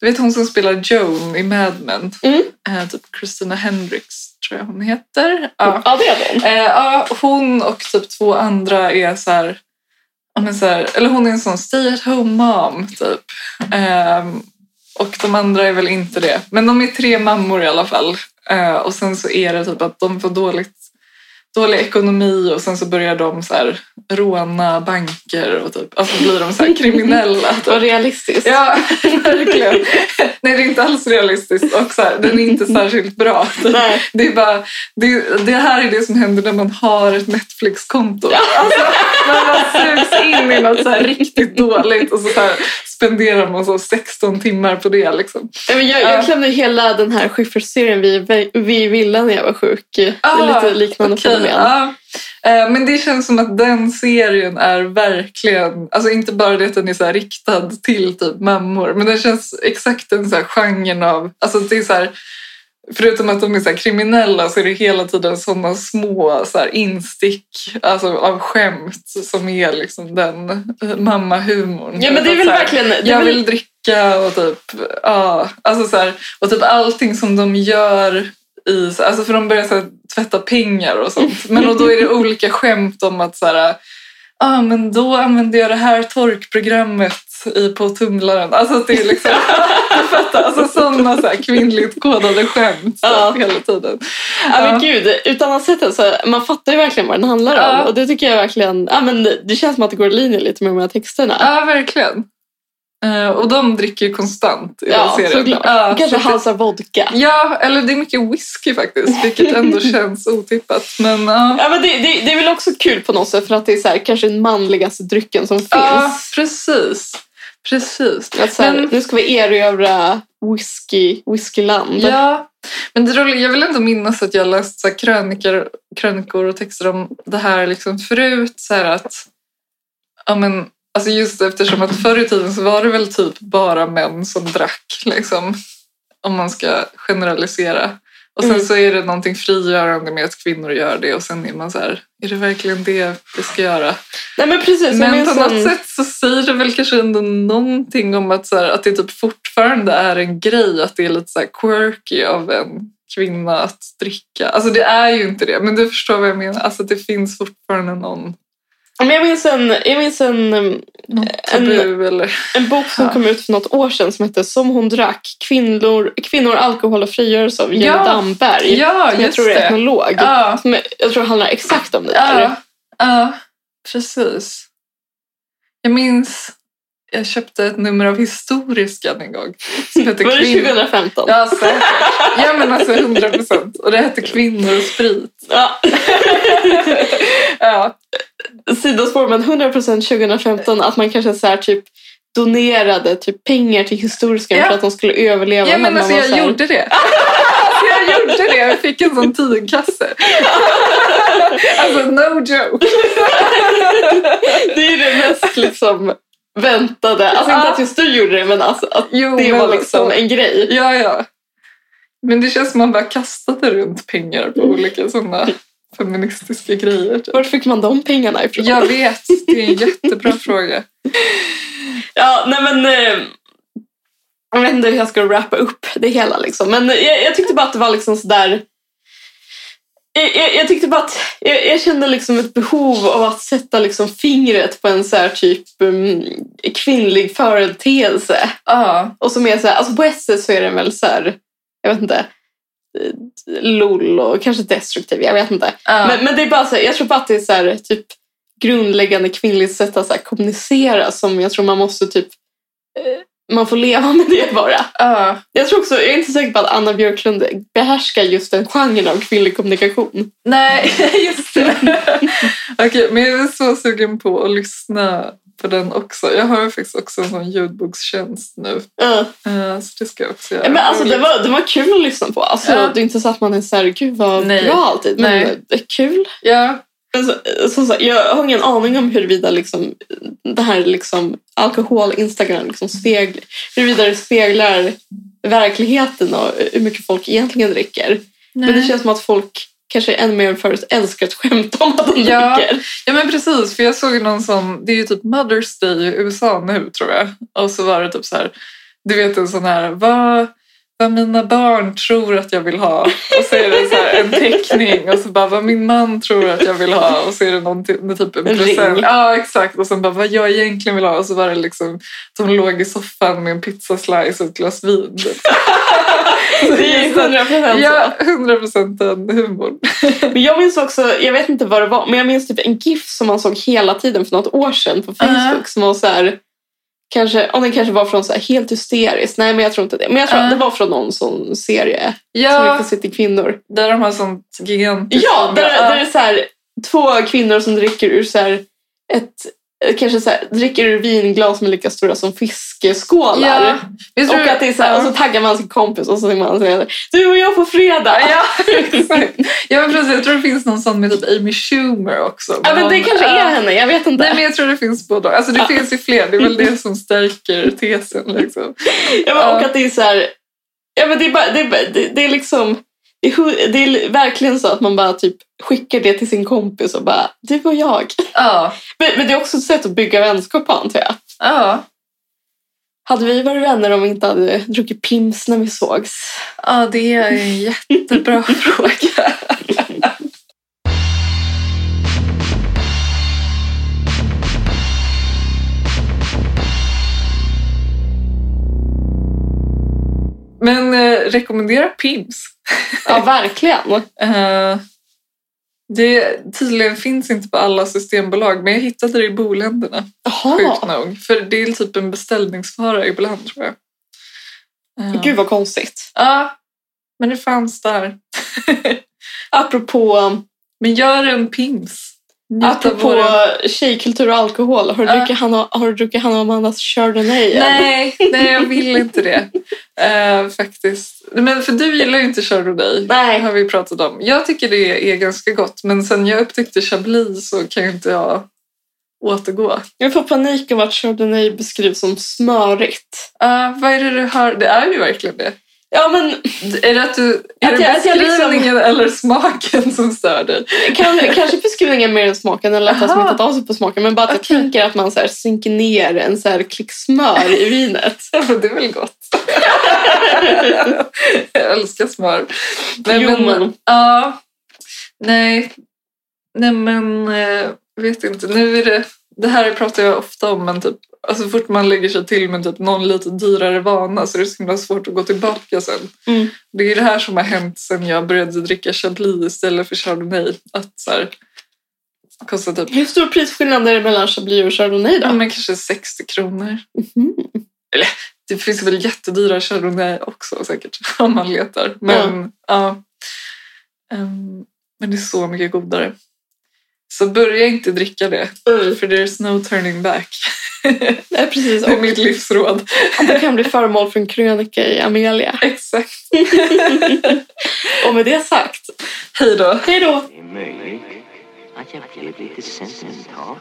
[SPEAKER 3] du vet hon som spelar Joan i Mad Men,
[SPEAKER 2] Mm.
[SPEAKER 3] eh, typ Christina Hendricks tror jag hon heter. Ja.
[SPEAKER 2] Ja, det är den.
[SPEAKER 3] Eh, ja, hon och typ två andra är så här, ja, men så här eller hon är en sån stay at home mom typ. Ehm, och de andra är väl inte det. Men de är tre mammor i alla fall. Eh, och sen så är det typ att de får dåligt, dålig ekonomi och sen så börjar de så här råna banker och typ, alltså blir de så här kriminella. Typ.
[SPEAKER 2] Vad realistiskt.
[SPEAKER 3] Ja, verkligen. Nej, det är inte alls realistiskt och så här, den är inte särskilt bra.
[SPEAKER 2] Mm. Nej.
[SPEAKER 3] Det, är bara, det, det här är det som händer när man har ett Netflix-konto. Alltså, man bara sugs in i något så här riktigt dåligt och så, så här, spenderar man så 16 timmar på det. Liksom.
[SPEAKER 2] Nej, men jag,
[SPEAKER 3] Ja.
[SPEAKER 2] jag klämde hela den här Schyffert-serien vid, vid villan när jag var sjuk. det är lite liknande
[SPEAKER 3] Ah, okej, Ah,
[SPEAKER 2] fenomen.
[SPEAKER 3] ja. Eh, Men det känns som att den serien är verkligen, alltså inte bara det att den är så här riktad till typ mammor, men den känns exakt den så här genren av, alltså det är så här, förutom att de är så här kriminella så är det hela tiden sådana små så här instick alltså av skämt som är liksom den eh, mammahumorn.
[SPEAKER 2] Ja, men det är väl
[SPEAKER 3] Så här,
[SPEAKER 2] verkligen... Det är
[SPEAKER 3] jag
[SPEAKER 2] väl,
[SPEAKER 3] vill dricka och typ, ja, alltså så här, och typ allting som de gör i, så- alltså för de börjar så här, tvätta pengar och sånt. Men och då är det olika skämt om att så här, ah, men då använde jag det här torkprogrammet i, på tumlaren. Alltså att det är liksom, du fattar, alltså sådana så här kvinnligt kodade skämt
[SPEAKER 2] Ja.
[SPEAKER 3] ja. hela tiden.
[SPEAKER 2] ja, men
[SPEAKER 3] Ja.
[SPEAKER 2] gud, utan att ha sett den så man fattar ju verkligen vad den handlar
[SPEAKER 3] Ja.
[SPEAKER 2] om. Och det tycker jag verkligen... Ja, men det känns som att det går i linje lite med de här texterna.
[SPEAKER 3] Ja, verkligen. Eh, och de dricker ju konstant i den
[SPEAKER 2] Ja,
[SPEAKER 3] serien.
[SPEAKER 2] såklart.
[SPEAKER 3] Ja,
[SPEAKER 2] Och kanske
[SPEAKER 3] så det-
[SPEAKER 2] halsar vodka.
[SPEAKER 3] Ja, eller det är mycket whisky faktiskt, vilket ändå känns otippat. Men ja,
[SPEAKER 2] Ja, men det, det, det är väl också kul på något sätt för att det är så här, kanske den manligaste drycken som
[SPEAKER 3] ja
[SPEAKER 2] finns.
[SPEAKER 3] precis. Precis.
[SPEAKER 2] Att så här,
[SPEAKER 3] Men-
[SPEAKER 2] Nu ska vi erövra whisky, whiskyland.
[SPEAKER 3] Ja, men det roliga, jag vill ändå minnas att jag läst så här krönikor, krönikor och texter om det här liksom förut. Så här att, ja, men, alltså just eftersom att förr i tiden så var det väl typ bara män som drack, liksom, om man ska generalisera. Och sen
[SPEAKER 2] Mm.
[SPEAKER 3] så är det någonting frigörande med att kvinnor gör det och sen är man så här, är det verkligen det vi ska göra?
[SPEAKER 2] Nej, men precis. jag
[SPEAKER 3] Men Alltså, på
[SPEAKER 2] minns en-
[SPEAKER 3] något sätt så säger det väl kanske ändå någonting om att, så här, att det typ fortfarande är en grej att det är lite så här quirky av en kvinna att dricka. Alltså det är ju inte det, men du förstår vad jag menar. Alltså det finns fortfarande någon,
[SPEAKER 2] Men jag minns en, jag minns en, um,
[SPEAKER 3] någon tabu eller...
[SPEAKER 2] en bok som
[SPEAKER 3] Ja.
[SPEAKER 2] kom ut för något år sedan som hette Som hon drack, kvinnor, kvinnor alkohol och frigörelse av Jenny
[SPEAKER 3] Ja.
[SPEAKER 2] Damberg.
[SPEAKER 3] Ja,
[SPEAKER 2] som jag
[SPEAKER 3] just
[SPEAKER 2] tror är
[SPEAKER 3] det.
[SPEAKER 2] etnolog.
[SPEAKER 3] Ja,
[SPEAKER 2] Som jag, jag tror handlar exakt om det där.
[SPEAKER 3] ja, ja, precis. Jag minns, jag köpte ett nummer av Historiskan en gång. Som heter
[SPEAKER 2] Var det
[SPEAKER 3] Kvinn-
[SPEAKER 2] 2015?
[SPEAKER 3] Ja, säkert. Alltså. Ja, men alltså 100 procent. Och det hette Kvinnor och sprit.
[SPEAKER 2] Ja.
[SPEAKER 3] Ja,
[SPEAKER 2] Sidospår, men 100% 2015 att man kanske så här typ donerade typ pengar till historiska
[SPEAKER 3] Ja.
[SPEAKER 2] för att de skulle överleva.
[SPEAKER 3] ja
[SPEAKER 2] när
[SPEAKER 3] men
[SPEAKER 2] man
[SPEAKER 3] alltså
[SPEAKER 2] var så
[SPEAKER 3] jag
[SPEAKER 2] här-
[SPEAKER 3] gjorde det. Alltså, jag gjorde det. Jag fick en sån tidkasse. Alltså no joke.
[SPEAKER 2] Det är ju det mest liksom väntade. Alltså inte
[SPEAKER 3] Ja.
[SPEAKER 2] att just du gjorde det men alltså, att det
[SPEAKER 3] Jo, men alltså-
[SPEAKER 2] var liksom
[SPEAKER 3] så-
[SPEAKER 2] en grej.
[SPEAKER 3] Ja, ja. Men det känns som man bara kastade runt pengar på olika såna feministiska grejer. typ.
[SPEAKER 2] Var fick man de pengarna ifrån?
[SPEAKER 3] Jag vet, det är en jättebra fråga.
[SPEAKER 2] Ja, nej men... Eh, jag vet inte hur jag eh, ska wrappa upp det hela. Liksom. Men jag, jag tyckte bara att det var liksom sådär... jag, jag, jag tyckte bara att jag, jag kände liksom ett behov av att sätta liksom fingret på en så här typ mm, kvinnlig företeelse.
[SPEAKER 3] Ja,
[SPEAKER 2] Och som är så här, alltså på ett sätt så är den väl så här, jag vet inte, eh, lol och kanske destruktiv, jag vet inte.
[SPEAKER 3] ja.
[SPEAKER 2] Men, men det är bara så här, jag tror bara att det är så här, typ grundläggande kvinnligt sätt att så här, kommunicera som jag tror man måste typ, eh, man får leva med det bara.
[SPEAKER 3] ja.
[SPEAKER 2] Jag tror också, jag är inte säker på att Anna Björklund behärskar just den genren av kvinnlig kommunikation.
[SPEAKER 3] Nej, just det. Okej, men jag är så sugen på att lyssna på den också. Jag har faktiskt också en sån ljudbokstjänst nu.
[SPEAKER 2] Ja.
[SPEAKER 3] Eh, Så det ska jag också göra.
[SPEAKER 2] Men alltså det var, det var kul att lyssna på. Alltså,
[SPEAKER 3] Ja.
[SPEAKER 2] Det är inte så att man är såhär, gud vad
[SPEAKER 3] Nej.
[SPEAKER 2] bra alltid. Men
[SPEAKER 3] Nej.
[SPEAKER 2] det är kul.
[SPEAKER 3] Ja,
[SPEAKER 2] Men så- Alltså, som sagt, jag har ingen aning om huruvida liksom, det här liksom, alkohol-instagram liksom, spegl, huruvida det speglar verkligheten och hur mycket folk egentligen dricker. Men det
[SPEAKER 3] Nej.
[SPEAKER 2] känns som att folk kanske ännu mer än förut älskar att skämta om att de
[SPEAKER 3] Ja.
[SPEAKER 2] dricker.
[SPEAKER 3] Ja men precis, för jag såg någon som, det är ju typ Mother's Day i USA nu tror jag. Och så var det typ så här, du vet en sån här, vad, vad mina barn tror att jag vill ha. Och så är det så här en teckning och så bara vad min man tror att jag vill ha. Och så är det någonting med typ en
[SPEAKER 2] En ring.
[SPEAKER 3] present. Ja exakt. Och sen bara vad jag egentligen vill ha. Och så var det liksom, de låg i soffan med en pizzaslice och ett glas vin.
[SPEAKER 2] Det är 100 procent
[SPEAKER 3] Ja, 100% den humorn.
[SPEAKER 2] Men jag minns också, jag vet inte vad det var, men jag minns typ en GIF som man såg hela tiden för något år sedan på Facebook
[SPEAKER 3] Ja.
[SPEAKER 2] som var så här, kanske, om den kanske var från så här helt hysteriskt, nej men jag tror inte det, men jag tror
[SPEAKER 3] Ja.
[SPEAKER 2] att det var från någon sån serie som gick
[SPEAKER 3] Ja,
[SPEAKER 2] på City Kvinnor.
[SPEAKER 3] där de har sånt gigantiskt...
[SPEAKER 2] Ja, där,
[SPEAKER 3] Typ. Ja.
[SPEAKER 2] där är det så här, två kvinnor som dricker ur så här, ett eh, Kanske så här, dricker ur vinglas som är lika stora som fiskeskålar.
[SPEAKER 3] Ja. Visst tror
[SPEAKER 2] Och,
[SPEAKER 3] du-
[SPEAKER 2] att det är så här, och så taggar man sin kompis och så säger man så här, du och jag på fredag.
[SPEAKER 3] Ja, exakt. Ja, men precis. Jag tror det finns någon sån med typ Amy Schumer också.
[SPEAKER 2] Ja, men det
[SPEAKER 3] Någon-
[SPEAKER 2] kanske
[SPEAKER 3] Ja.
[SPEAKER 2] är henne, jag vet inte.
[SPEAKER 3] Nej, men jag tror det finns båda. Alltså det
[SPEAKER 2] Ja.
[SPEAKER 3] finns ju fler. Det är väl det som stärker tesen. Liksom.
[SPEAKER 2] Ja, men, och
[SPEAKER 3] Ja.
[SPEAKER 2] att det är så här, ja, men det, är bara, det, är, bara- det, det är liksom det är, hu- det är verkligen så att man bara typ skickar det till sin kompis och bara du och jag.
[SPEAKER 3] Ja.
[SPEAKER 2] Men, men det är också ett sätt att bygga vänskap på antar jag.
[SPEAKER 3] Ja.
[SPEAKER 2] Hade vi varit vänner om vi inte hade druckit Pims när vi sågs?
[SPEAKER 3] ja, det är en jättebra fråga. Men eh, rekommendera Pims.
[SPEAKER 2] Ja, verkligen.
[SPEAKER 3] Eh, det tydligen finns inte på alla systembolag, men jag hittade det i boländerna, sjukt
[SPEAKER 2] Jaha,
[SPEAKER 3] nog. För det är typ en beställningsvara ibland, tror jag. Eh,
[SPEAKER 2] gud vad konstigt.
[SPEAKER 3] Ja, men det fanns där.
[SPEAKER 2] Apropå,
[SPEAKER 3] Men gör en pims. Njut av
[SPEAKER 2] apropå
[SPEAKER 3] våren.
[SPEAKER 2] tjejkultur och alkohol, har du
[SPEAKER 3] Ja.
[SPEAKER 2] druckit Hanna, har du druckit Hanna och Amandas Chardonnay? än?
[SPEAKER 3] Nej, nej, jag vill inte det. Eh, faktiskt. Men för du gillar ju inte Chardonnay. Det
[SPEAKER 2] Nej.
[SPEAKER 3] har vi pratat om. Jag tycker det är ganska gott, men sen jag upptäckte Chablis så kan ju inte jag återgå.
[SPEAKER 2] Jag får panik av att Chardonnay beskrivs som smörigt.
[SPEAKER 3] Ja, Ah, vad är det du hör? Det är ju verkligen det.
[SPEAKER 2] Ja, men
[SPEAKER 3] Är det, att du, är
[SPEAKER 2] Att
[SPEAKER 3] det
[SPEAKER 2] jag- att jag liksom-
[SPEAKER 3] beskrivningen eller smaken som stör dig?
[SPEAKER 2] kanske, kanske beskrivningen mer än smaken eller att det har
[SPEAKER 3] Aha.
[SPEAKER 2] smittat av sig på smaken. Men bara att jag
[SPEAKER 3] Okej.
[SPEAKER 2] tänker att man så här sinker ner en så här klick smör i vinet.
[SPEAKER 3] Ja, men Det är väl gott? jag älskar smör.
[SPEAKER 2] Jo, men-
[SPEAKER 3] ja, nej, nej, men eh, vet inte. Nu är det, det här pratar jag ofta om, men typ, alltså, så fort man lägger sig till med typ någon lite dyrare vana så är det så himla svårt att gå tillbaka sen.
[SPEAKER 2] Mm.
[SPEAKER 3] Det är det här som har hänt sen jag började dricka Chablis istället för Chardonnay. Att så här, det kostar typ
[SPEAKER 2] Hur stor prisskillnad är det mellan Chablis och Chardonnay då?
[SPEAKER 3] ja, men kanske 60 kronor.
[SPEAKER 2] Mhm.
[SPEAKER 3] Det finns väl jättedyra Chardonnay också säkert om man letar. Men, ja. Ehm, men det är så mycket godare. Så börja inte dricka det,
[SPEAKER 2] Mm.
[SPEAKER 3] för there's no turning back.
[SPEAKER 2] Nej, Eh, precis.
[SPEAKER 3] Det är
[SPEAKER 2] Och
[SPEAKER 3] mitt livsråd.
[SPEAKER 2] det kan bli föremål för en krönika i Amelia.
[SPEAKER 3] Exakt.
[SPEAKER 2] Och med det sagt,
[SPEAKER 3] Hej då.
[SPEAKER 2] hej då!
[SPEAKER 1] Det är möjligt att jag blev lite sentimental.